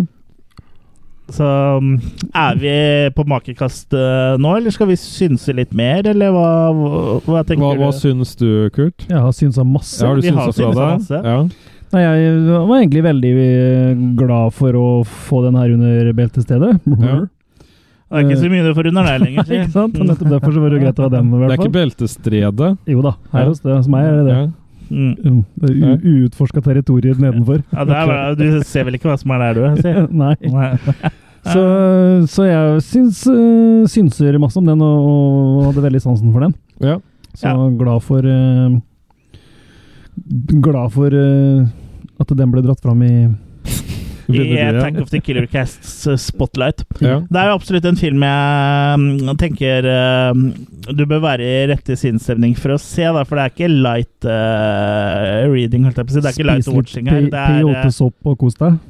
Så mm, er vi på makekast eh, nå, eller skal vi synse litt mer, eller hva, hva, hva
Hva,
tenker
hva
du?
syns du, Kurt?
Jeg har synsa masse.
Ja, har du
Vi har
synsa fra
synsa
deg? Ja.
Nei, jeg var egentlig veldig eh, glad for å få den her under beltestedet. (laughs)
Ja.
Det er ikke så mye du får under deg lenger.
(laughs)
Ikke sant? Og nettopp derfor så var det greit å ha den. i
Det er
hvert
ikke
fall.
beltestredet.
Jo da, her hos det, hos meg er det det.
Ja.
Mm.
Mm, det er u- Uutforska territorier nedenfor.
Ja, det er, bra. du ser vel ikke hva som er der, du? sier
(laughs)
jeg.
(laughs) Nei.
Nei.
Så, så jeg syns, eh, synser masse om den, og, og hadde veldig sansen for den.
Ja.
Så
Ja.
glad for eh, Glad for eh, at den ble dratt fram i
I
Begynner
eh,
du, ja?
Attack of the Killer Casts eh, Spotlight.
Ja.
Det er jo absolutt en film jeg mm, tenker eh, du bør være i rette sinnsstemning for å se, da, for det er ikke light eh, reading, holdt jeg på å si. Det er ikke light watching her. Det er, eh,
peyotesopp og kos deg.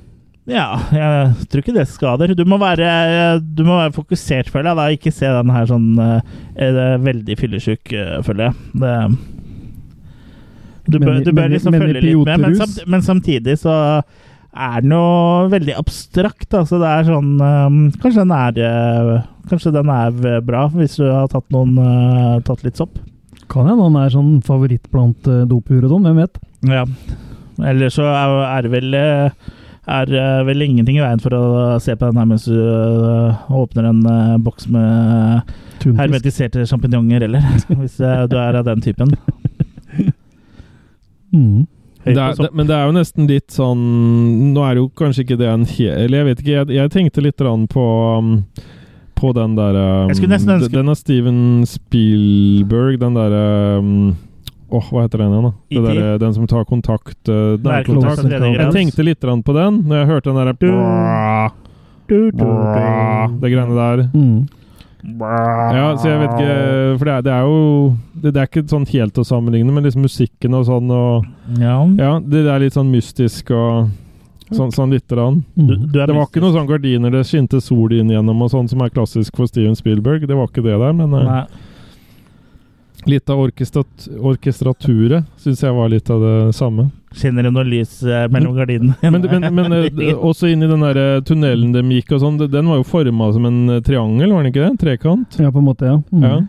Ja, jeg tror ikke det skader. Du må være, du må være fokusert, føler jeg. Da. Ikke se den her sånn eh, er det veldig fyllesyk, eh, føler jeg. Det, du, bør,
Men i-
du
men
bør
i-
liksom
men i
følge litt med, men,
pilotrus?
samt, men samtidig så er den jo veldig abstrakt. Altså det er sånn eh, Kanskje den er eh, Kanskje den er bra, hvis du har tatt, noen, eh, tatt litt sopp.
Kan hende han er sånn favoritt blant eh, dopurodon, hvem vet?
Ja. Eller så er, er det vel eh, er eh, vel ingenting i veien for å se på den her mens du eh, åpner en eh, boks med
Tunfisk.
hermetiserte sjampinjonger, eller? (laughs) Hvis eh, du er av den typen.
Mm.
Høy
Det
på
er, det,
sopp.
men det er jo nesten litt sånn Nå er det jo kanskje ikke det en he... Eller jeg vet ikke, jeg, jeg tenkte litt grann på um, på den derre um,
Jeg skulle nesten ønske-
Den av Steven Spielberg, den derre um, Åh, hva heter den igjen, da? Det
E.T.
derre- den som tar kontakt uh,
Nærkontakt
Nærkontakt.
av tredje
Jeg
grad.
tenkte litt grann på den når jeg hørte den derre
Du-
bra,
Du, du,
bra,
du.
Det greiene der.
Mm.
Ja, så jeg vet ikke eh, For det er, det er jo det, det er ikke sånn helt å sammenligne, men liksom musikken og sånn og
Ja.
ja, det er litt sånn mystisk og sånn, sånn lite grann.
mm.
Du, du er
Det var ikke noe sånn gardiner det skinte sol inn gjennom og sånn som er klassisk for Steven Spielberg. Det var ikke det der, men eh,
Nei.
litt av orkestrat orkestraturet syns jeg var litt av det samme.
Skinner det noe lys eh, mellom gardinene?
Men, men, men eh, også inn i den der eh, tunnelen de gikk og sånn, det- den var jo forma som en eh, triangel, var den ikke det? Trekant.
Ja, på en måte, ja. Mm.
Ja.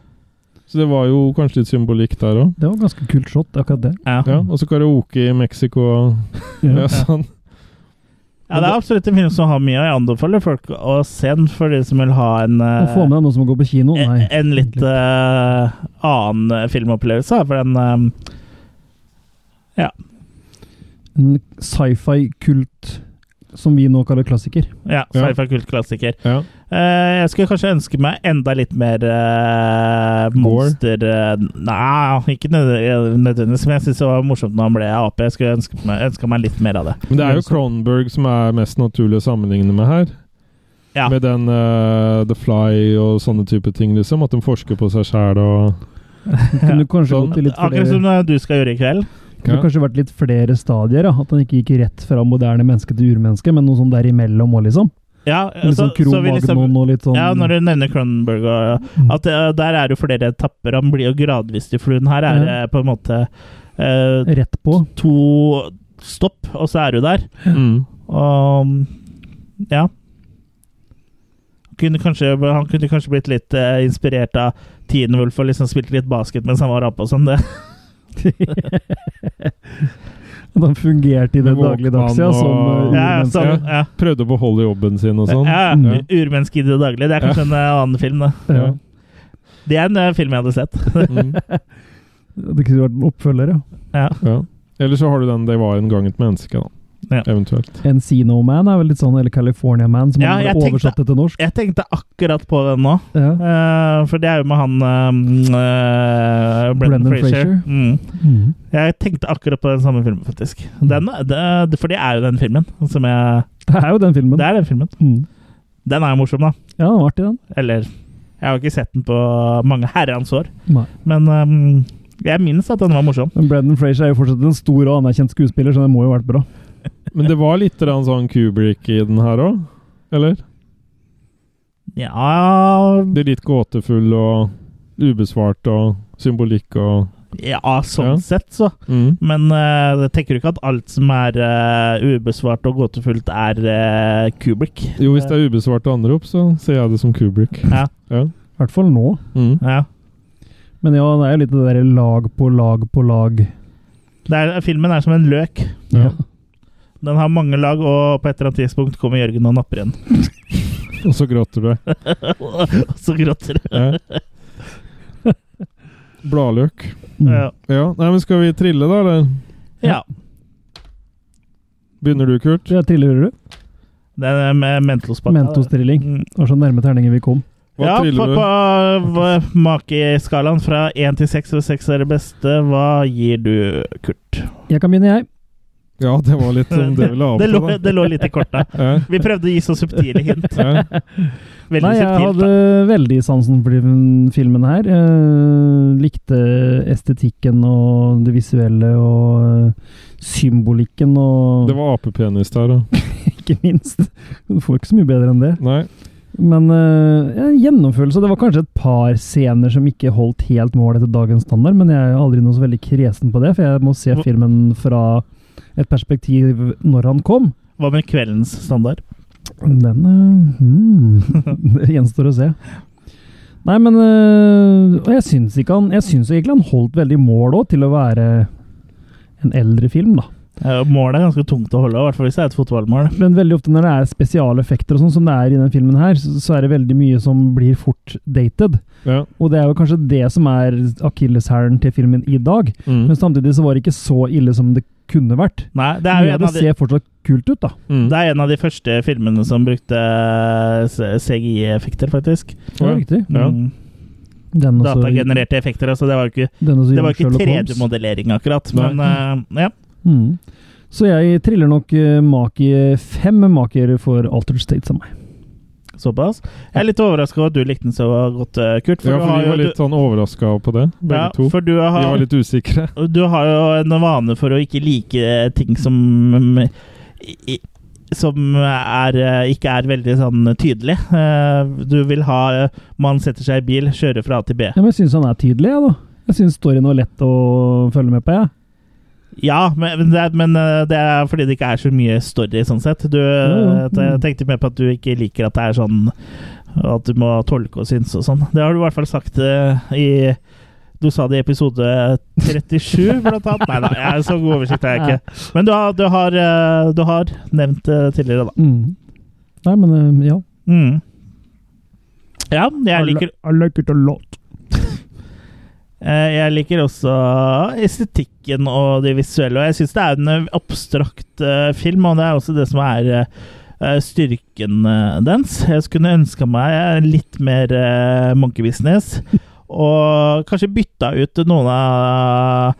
Så det var jo kanskje litt symbolikk der òg.
Det var ganske kult shot, akkurat det.
(laughs) ja.
Ja, og så karaoke i Mexico. Ja, sånn.
ja, det er absolutt en film som har mye, og jeg anbefaler folk å se den for de som vil ha en eh,
Å få med deg noen som går på kino? Nei.
E, en, en litt eh, annen eh, filmopplevelse, for den eh,
En sci-fi-kult som vi nå kaller klassiker.
Ja,
Ja.
sci-fi kultklassiker.
Ja.
Eh, jeg skulle kanskje ønske meg enda litt mer eh,
Gore?
monster... eh, nei, ikke nødv- nødvendigvis, men jeg syns det var morsomt når han ble AP. Jeg skulle ønske meg, ønske meg litt mer av det.
Men det er jo Cronberg som er mest naturlig å sammenligne med her.
Ja.
Med den eh, The Fly og sånne type ting, liksom. At de forsker på seg sjæl og sånn.
Det kunne kanskje gått i litt
Akkurat som
flere,
eh, du skal gjøre i kveld.
kunne kanskje vært litt flere stadier. Da. At den ikke gikk rett fra moderne menneske til urmenneske, men noe sånn derimellom òg, liksom.
Ja,
Litt sånn Kromagnon og litt sånn
liksom-
Mm.
Ja, når du nevner Cronenberg og At eh, der er det jo flere etapper. Han blir jo gradvis til fluen. Her er det på en måte eh,
Rett på.
to stopp, og så er du der.
Mm.
Og ja. Kunne kanskje, han kunne kanskje blitt litt eh, inspirert av Tiden Wolf og liksom spilt litt basket mens han var ape og sånn. Det.
At han fungerte i det dagligdagse, ja, som
Walkman og-
(laughs)
eh,
Ja,
urmenneske.
sånn, ja.
Prøvde å beholde jobben sin og sånn.
ja,
Mm.
Urmenneske i det daglige. Det er kanskje en eh, annen film, da.
Ja.
Det er en eh, film jeg hadde sett.
Mm.
Det kunne vært en oppfølger, ja.
ja.
ja. Eller så har du den 'Det var en gang et menneske', da.
Ja.
Eventuelt.
Encino Man er vel litt sånn, eller California Man, som
Ja,
er
jeg
ble
tenkte-
oversatt til norsk.
Jeg tenkte akkurat på den nå,
Ja.
eh, for det er jo med han uh, Brendan,
Brendan
Fraser.
Fraser.
Mm.
Mm.
Jeg tenkte akkurat på den samme filmen, faktisk. Den, eh, det, for det er jo den filmen som jeg
Det er jo den filmen.
Det er den filmen.
Mm.
Den er jo morsom, da.
Ja, den var artig, den.
Eller Jeg har ikke sett den på mange herrens år,
Nei.
men ehm, jeg minnes at den var morsom.
Men Brendan Fraser er jo fortsatt en stor og anerkjent skuespiller, så det må jo ha vært bra.
Men det var litt grann sånn Kubrick i den her òg? Eller?
Ja
Det er litt gåtefull og ubesvart og symbolikk og
Ja, sånn
Ja.
sett, så.
mm.
Men eh, jeg tenker du ikke at alt som er eh, ubesvart og gåtefullt, er eh, Kubrick?
Jo, hvis det er ubesvarte anrop, så ser jeg det som Kubrick.
Ja.
ja.
I hvert fall nå.
Mm.
Ja.
Men ja, det er jo litt det derre lag på lag på lag.
Det er, filmen er som en løk.
Ja. (laughs)
Den har mange lag, og på et eller annet tidspunkt kommer Jørgen og napper en.
Og så gråter du.
(laughs) Og så gråter du.
Ja. Bladløk.
Mm.
Ja.
Ja, nei, men skal vi trille, da? Eller?
ja.
Begynner du, Kurt?
Ja, triller du?
Det er med Mentos-pakka.
Mentos-trilling.
Mm.
Det var så nærme terningen vi kom.
Hva
ja, på,
triller du?
på hva- makeskalaen fra én til seks, hvor seks er det beste, hva gir du, Kurt?
Jeg kan begynne, jeg.
Ja, det var litt som det
(laughs)
vi la opp
Det lå,
til.
det lå litt i korta.
Ja.
Vi prøvde å gi så subtile hint.
(laughs)
Veldig
Ja.
Nei, jeg
subtilt.
hadde
da.
veldig sansen for den filmen her. Eh, likte estetikken og det visuelle og eh, symbolikken og
Det var apepenis der, da.
(laughs) ikke minst. Du får ikke så mye bedre enn det.
Nei.
Men eh, ja, gjennomførelse Det var kanskje et par scener som ikke holdt helt mål etter dagens standard, men jeg er aldri noe så veldig kresen på det, for jeg må se
Hva-
filmen fra et perspektiv når han kom.
Hva med kveldens standard?
Den eh, hmm, (laughs) Det gjenstår å se. Nei, men eh, Og jeg syns ikke han Jeg syns egentlig han holdt veldig mål òg, til å være en eldre film, da.
Eh, Målet er ganske tungt å holde, i hvert fall hvis det er et fotballmål.
Men veldig ofte når det er spesialeffekter og sånn, som det er i den filmen her, så, så er det veldig mye som blir fort dated.
Ja.
Og det er jo kanskje det som er akilleshælen til filmen i dag.
Mm.
Men samtidig så var det ikke så ille som det kunne vært.
Nei, det er jo
Men
en
det
av de
ser fortsatt kult ut, da.
Mm.
Det er en av de første filmene som brukte eh, CGI-effekter, faktisk.
Det var
Ja.
riktig.
Ja.
Mm,
Den også-
Datagenererte effekter, altså. Det var jo ikke,
den også
det var jo ikke
gjorde Sherlock Holmes.
3D-modellering, akkurat. Men eh, ja.
Mm. Så jeg triller nok eh, maki fem maker for Altered State som meg.
Såpass. Jeg er litt overraska over at du likte den så godt, eh, Kurt.
ja,
du
for
har
vi
jo-
var litt sånn overraska på det,
du,
begge
ja,
to.
for du
Vi var
har,
litt usikre.
du har jo en vane for å ikke like eh, ting som mm, i- i- som er, eh, ikke er veldig sånn tydelig. Eh, Du vil ha eh, man setter seg i bil, kjører fra A til B.
Ja, men jeg syns han er tydelig, jeg, da. Jeg syns storyen var lett å følge med på, jeg.
Ja, men, men det, er- men eh, det er fordi det ikke er så mye story, sånn sett. Du
Jo, Mm. jo.
eh, jeg tenkte mer på at du ikke liker at det er sånn At du må tolke og synse og sånn. Det har du i hvert fall sagt eh, i Du sa det i episode 37, blant annet. Nei da, jeg er så god oversikt er jeg ikke. Men du har, du har, eh, du har nevnt det tidligere, da.
Mm. Nei, men eh, ja.
Mm. Ja, jeg liker
I Mm. like it a lot.
Eh, Jeg liker også estetikken og det visuelle, og jeg syns det er en eh, abstrakt eh, film, og det er også det som er eh, styrken eh, dens. Jeg skulle ønska meg litt mer eh, monkey business, og kanskje bytta ut noen av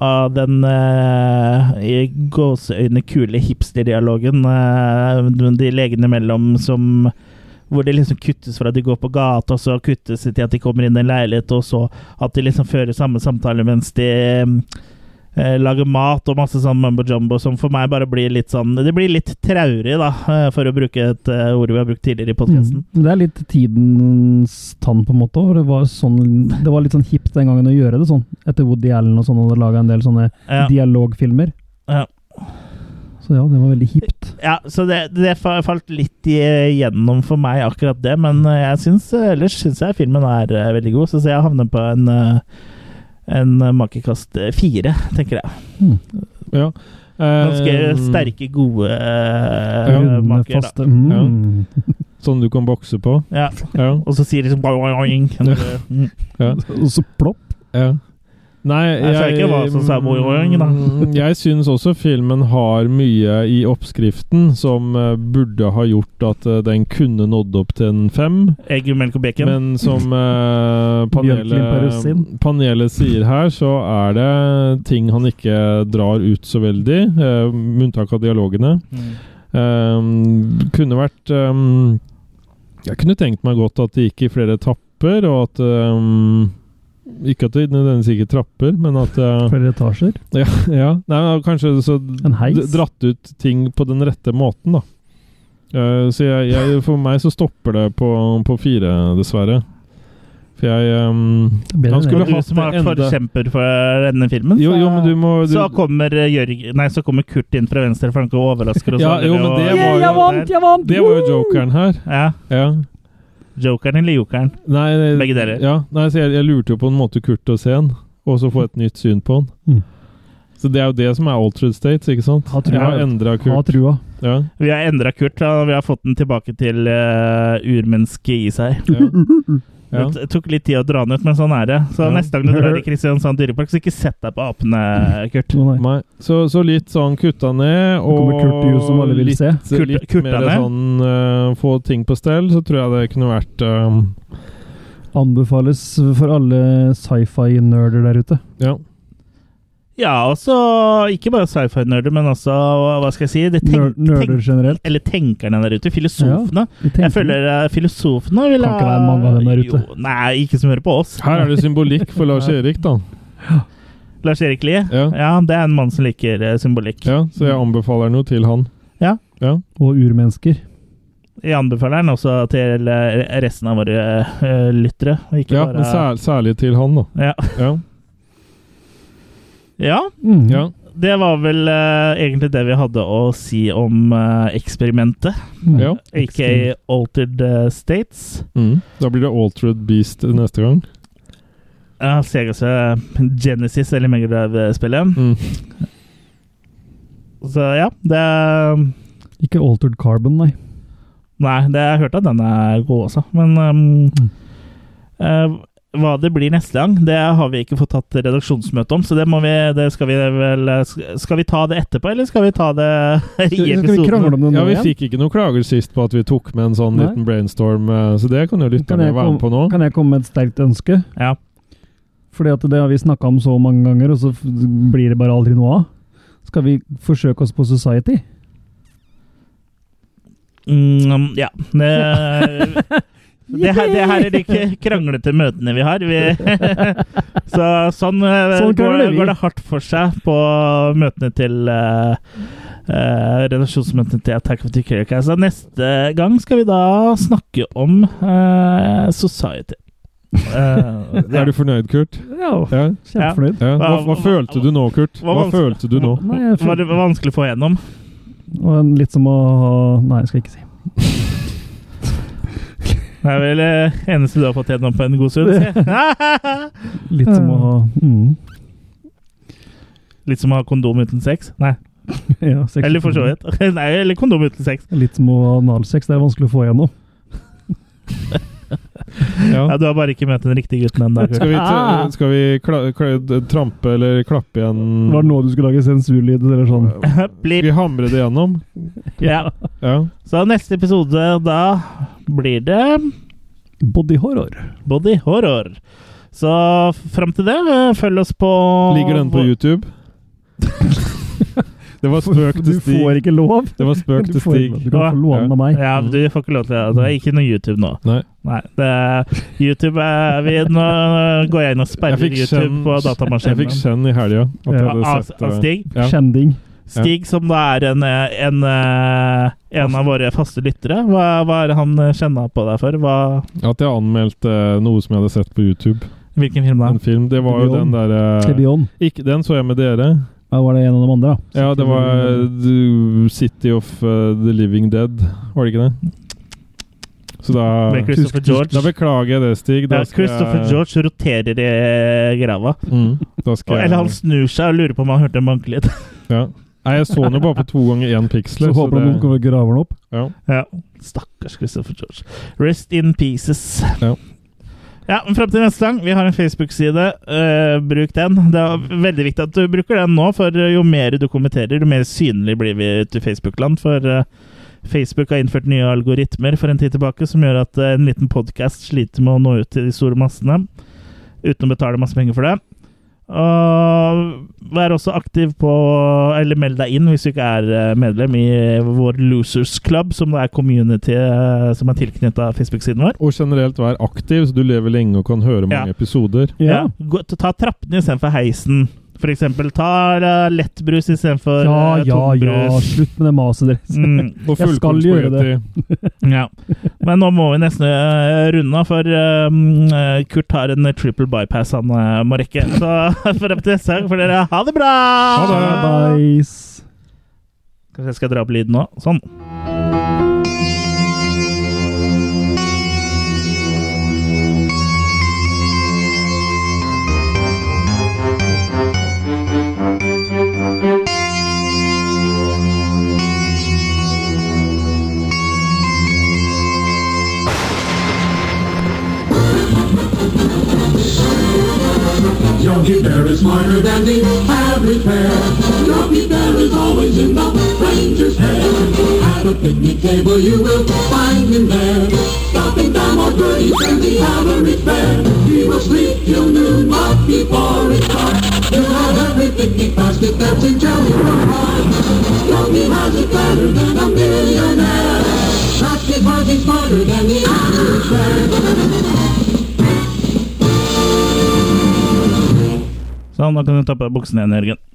av den eh, i gåseøyne kule hipsterdialogen eh, de legene imellom som hvor det liksom kuttes fra at de går på gata, og så kuttes det til at de kommer inn i en leilighet, og så at de liksom fører samme samtale mens de eh, lager mat og masse sånn mumbo jumbo, som for meg bare blir litt sånn Det blir litt traurig, da, eh, for å bruke et eh, ord vi har brukt tidligere i podkasten.
Mm. Det er litt tidens tann, på en måte. For det var, sånn, det var litt sånn hipt den gangen å gjøre det sånn. Etter Woody Allen og sånn hadde laga en del sånne
Ja.
dialogfilmer.
Ja.
Så ja, det var veldig hipt.
Ja, så det, det fa- falt litt igjennom for meg, akkurat det. Men eh, jeg syns, eh, ellers syns jeg filmen er eh, veldig god, så så jeg havner på en, eh, en eh, makekast eh, fire, tenker jeg.
Ja.
Ganske
Eh,
sterke, gode eh,
Runde,
maker, da.
faste mm.
Sånn du kan bokse på.
Ja.
Ja.
Og så sier liksom boing, boing. Mm.
Og så plopp.
Ja. Nei,
Jeg sa ikke hva som sa boing, da.
Mm, Jeg syns også filmen har mye i oppskriften som eh, burde ha gjort at eh, den kunne nådd opp til en fem,
Egg, melk og bacon.
men som
(laughs)
eh,
Bjørklim på russin.
panelet, panelet sier her, så er det ting han ikke drar ut så veldig, eh, med unntak av dialogene.
Mm.
Ehm, kunne vært ehm, Jeg kunne tenkt meg godt at det gikk i flere etapper, og at ehm, Ikke at det nødvendigvis gikk i trapper, men at
(laughs)
eh,
Flere etasjer.
ja, ja. Nei, men Kanskje så
En heis.
d- dratt ut ting på den rette måten, da. Eh, så jeg, jeg, for meg så stopper det på, på fire, dessverre. For jeg ehm,
Det er bedre enn
Han skulle
det.
Du som har vært forkjemper for eh, denne filmen.
Jo, jo, men du må du,
Så kommer, eh, Jørg, nei, så kommer Kurt inn fra venstre flanke og overrasker oss.
Ja,
alle,
jo, men
og-
det var
Yeah,
jo-
jeg vant, jeg vant!
Det var jo jokeren her.
Ja,
Ja.
Jokeren eller jokeren?
Nei, det-
Begge deler.
Ja, nei, så jeg, jeg lurte jo på en måte Kurt å se han, og så få et nytt syn på han.
Mm.
Så det er jo det som er Altered States, ikke sant?
Ha
Jeg har
trua.
endra
Ha
Kurt.
trua.
Ja,
Vi har endra Kurt, og vi har fått den tilbake til eh, urmennesket i seg.
(laughs)
ja, ja.
Det tok litt tid å dra den ut, men sånn er det. Så
Ja.
neste gang du
(laughs)
drar i Kristiansand dyrepark, så ikke sett deg på apene, Kurt.
Å, nei.
Nei. Så, så litt sånn kutta ned,
Nå kommer Kurt i hus som alle
og
vil
litt,
se.
Kurt-
litt
Kurt
mer
er ned?
sånn eh, få ting på stell, så tror jeg det kunne vært eh,
Anbefales for alle sci-fi-nerder der ute.
Ja.
Ja, også ikke bare sci-fi-nerder, men også hva skal jeg si det
Ner- Nerder generelt.
Eller tenkerne der ute. Filosofene.
Vi tenker-
Jeg føler eh, filosofene vil
Kan ikke være mange av dem der ute.
Jo, nei, ikke som hører på oss.
Her er det symbolikk for Lars Erik, da.
Lars Erik Lie.
Ja.
Ja, det er en mann som liker eh, symbolikk.
Ja, så jeg anbefaler noe til han.
Ja.
Ja.
og urmennesker.
Jeg anbefaler den også til eh, resten av våre eh, lyttere. Ikke
ja, men
bare,
sær, særlig til han, da.
ja.
Ja.
ja,
Mm.
ja.
det var vel eh, egentlig det vi hadde å si om eh, eksperimentet.
Mm.
ja.
Aka Altered eh, States.
Mm. Da blir det Altered Beast neste gang.
Ja, Sega seg Genesis eller Mega Drive-spillet.
Mm.
Så ja, det
Ikke Altered Carbon, nei.
Nei, det har jeg hørt at den er god også, men um,
Mm.
eh, Hva det blir neste gang, det har vi ikke fått tatt redaksjonsmøte om, så det må vi det skal vi vel eh, Skal vi ta det etterpå, eller skal vi ta det (laughs) i
Skal vi krangle
episoden?
om det nå
Ja, vi
igjen?
fikk ikke noen klager sist på at vi tok med en sånn
Nei.
liten brainstorm, eh, så det kan jo
Kan
lytterne
jeg,
være med på nå.
kom, kan jeg komme med et sterkt ønske?
Ja.
Fordi at det har vi snakka om så mange ganger, og så f- blir det bare aldri noe av. Skal vi forsøke oss på Society?
(laughs)
Mm, ja. Det, det, her, det her er de k- kranglete møtene vi har. Vi,
(laughs)
så sånn, eh,
Sånn
går,
krangler vi.
går det hardt for seg på møtene til uh, relasjonsmøtene til Attack of the Kirk. Så neste gang skal vi da snakke om eh, Society. Eh, ja.
Er du fornøyd, Kurt?
Ja,
Ja.
kjempefornøyd.
ja. Hva,
Hva-
hva følte du nå, Kurt?
Hva
Hva
vanskelig-
følte du nå?
Nei, jeg
Var det
føl-
vanskelig å få igjennom?
og en- litt som å ha Nei, jeg skal ikke si.
Det er vel eh, eneste du har fått igjennom på en god stund. sier jeg.
Litt som å ha mm, (laughs)
Litt som å ha kondom uten sex. Nei.
ja, sex-
Eller for så vidt. (laughs) Nei, eller kondom uten sex.
Litt som å ha analsex. Det er vanskelig å få igjennom.
Ja,
Ja.
du har bare ikke møtt den riktige gutten ennå.
Skal vi,
Ah.
t- skal vi kla, kla, trampe eller klappe igjen?
Var det nå du skulle lage sensurlyd eller sånn?
Skal
(laughs) Blip.
vi hamre det gjennom?
Ja.
Ja.
Så neste episode, da blir det
Body horror.
body horror. Så fram til det, eh, følg oss på
Ligger den på YouTube? (laughs) Det var spøk
Du
til
får
Stig.
ikke lov!
Det var spøk
Du
til
får ikke
Stig.
lov. Du kan få låne den av meg.
Ja, du får ikke lov til det. Det er ikke noe YouTube nå.
Mm. Nei.
Nei, det er YouTube er vi, Nå går jeg inn og
Jeg
sperrer
fikk
YouTube
kjenn-
på
Jeg fikk
datamaskinen. altså,
kjenn i helga. at jeg
Ja,
hadde
Av,
sett,
av
eh,
Stig.
Ja.
Kjending.
Stig, som da er en, eh, en, eh, en av våre faste lyttere. Hva, hva er det han eh, kjenner på deg for? Hva,
At jeg anmeldte eh, noe som jeg hadde sett på YouTube.
hvilken film da?
En film. Det var jo
Beyond.
den derre
Tebion.
Ikke den så jeg med dere.
Ja, var det en av de andre, da?
Ja, det var eh, du- City of eh, the Living Dead, var det ikke det? Så da
Med Christopher George.
Da beklager jeg det, Stig. Da
Ja,
skal jeg-
Christopher George roterer i eh, grava.
Mm, da skal jeg
Eller han snur seg og lurer på om han hørte en bankelyd.
ja. Nei, jeg så den jo bare på to ganger én
Så
piksel.
håper jeg noen kommer og graver den opp.
ja.
Ja. Stakkars Christopher George. Rest in pieces.
Ja.
Ja, men Fram til neste gang, vi har en Facebook-side. Eh, bruk den. Det er veldig viktig at du bruker den nå, for jo mer du kommenterer, jo mer synlig blir vi ute i Facebook-land. For eh, Facebook har innført nye algoritmer for en tid tilbake, som gjør at eh, en liten podkast sliter med å nå ut til de store massene, uten å betale masse penger for det. Og vær også aktiv på Eller meld deg inn hvis du ikke er eh, medlem i vår Losers Club, som da er community eh, som er tilknytta Facebook-siden vår.
Og generelt vær aktiv, så du lever lenge og kan høre mange
Ja.
episoder.
Ja.
Gå, ta trappene istedenfor heisen. For eksempel ta eh, lettbrus istedenfor
Ja,
eh,
ja, ja.
tungbrus.
Slutt med det maset deres.
Mm,
Og
Jeg skal gjøre
fullkornspagetti.
ja. Men nå må vi nesten eh, runde av, for eh, mm, Kurt har en triple bypass han eh, må rekke. Så (laughs) for opp til neste gang får dere ha det bra!
Ha
Bye.
Kanskje jeg skal dra opp lyden nå? Sånn.
Yogi Bear is smarter than the average bear. Yogi Bear is always in the ranger's hair. At a picnic table you will find him there. Stopping down more birdies than the average bear. He will sleep till noon, but before it's dark. He'll have every picnic basket that's in Jelly Roll Pie. Yogi has it better than a millionaire. That's because he's smarter than the average bear.
Sånn, da kan du ta på deg buksene igjen, Jørgen.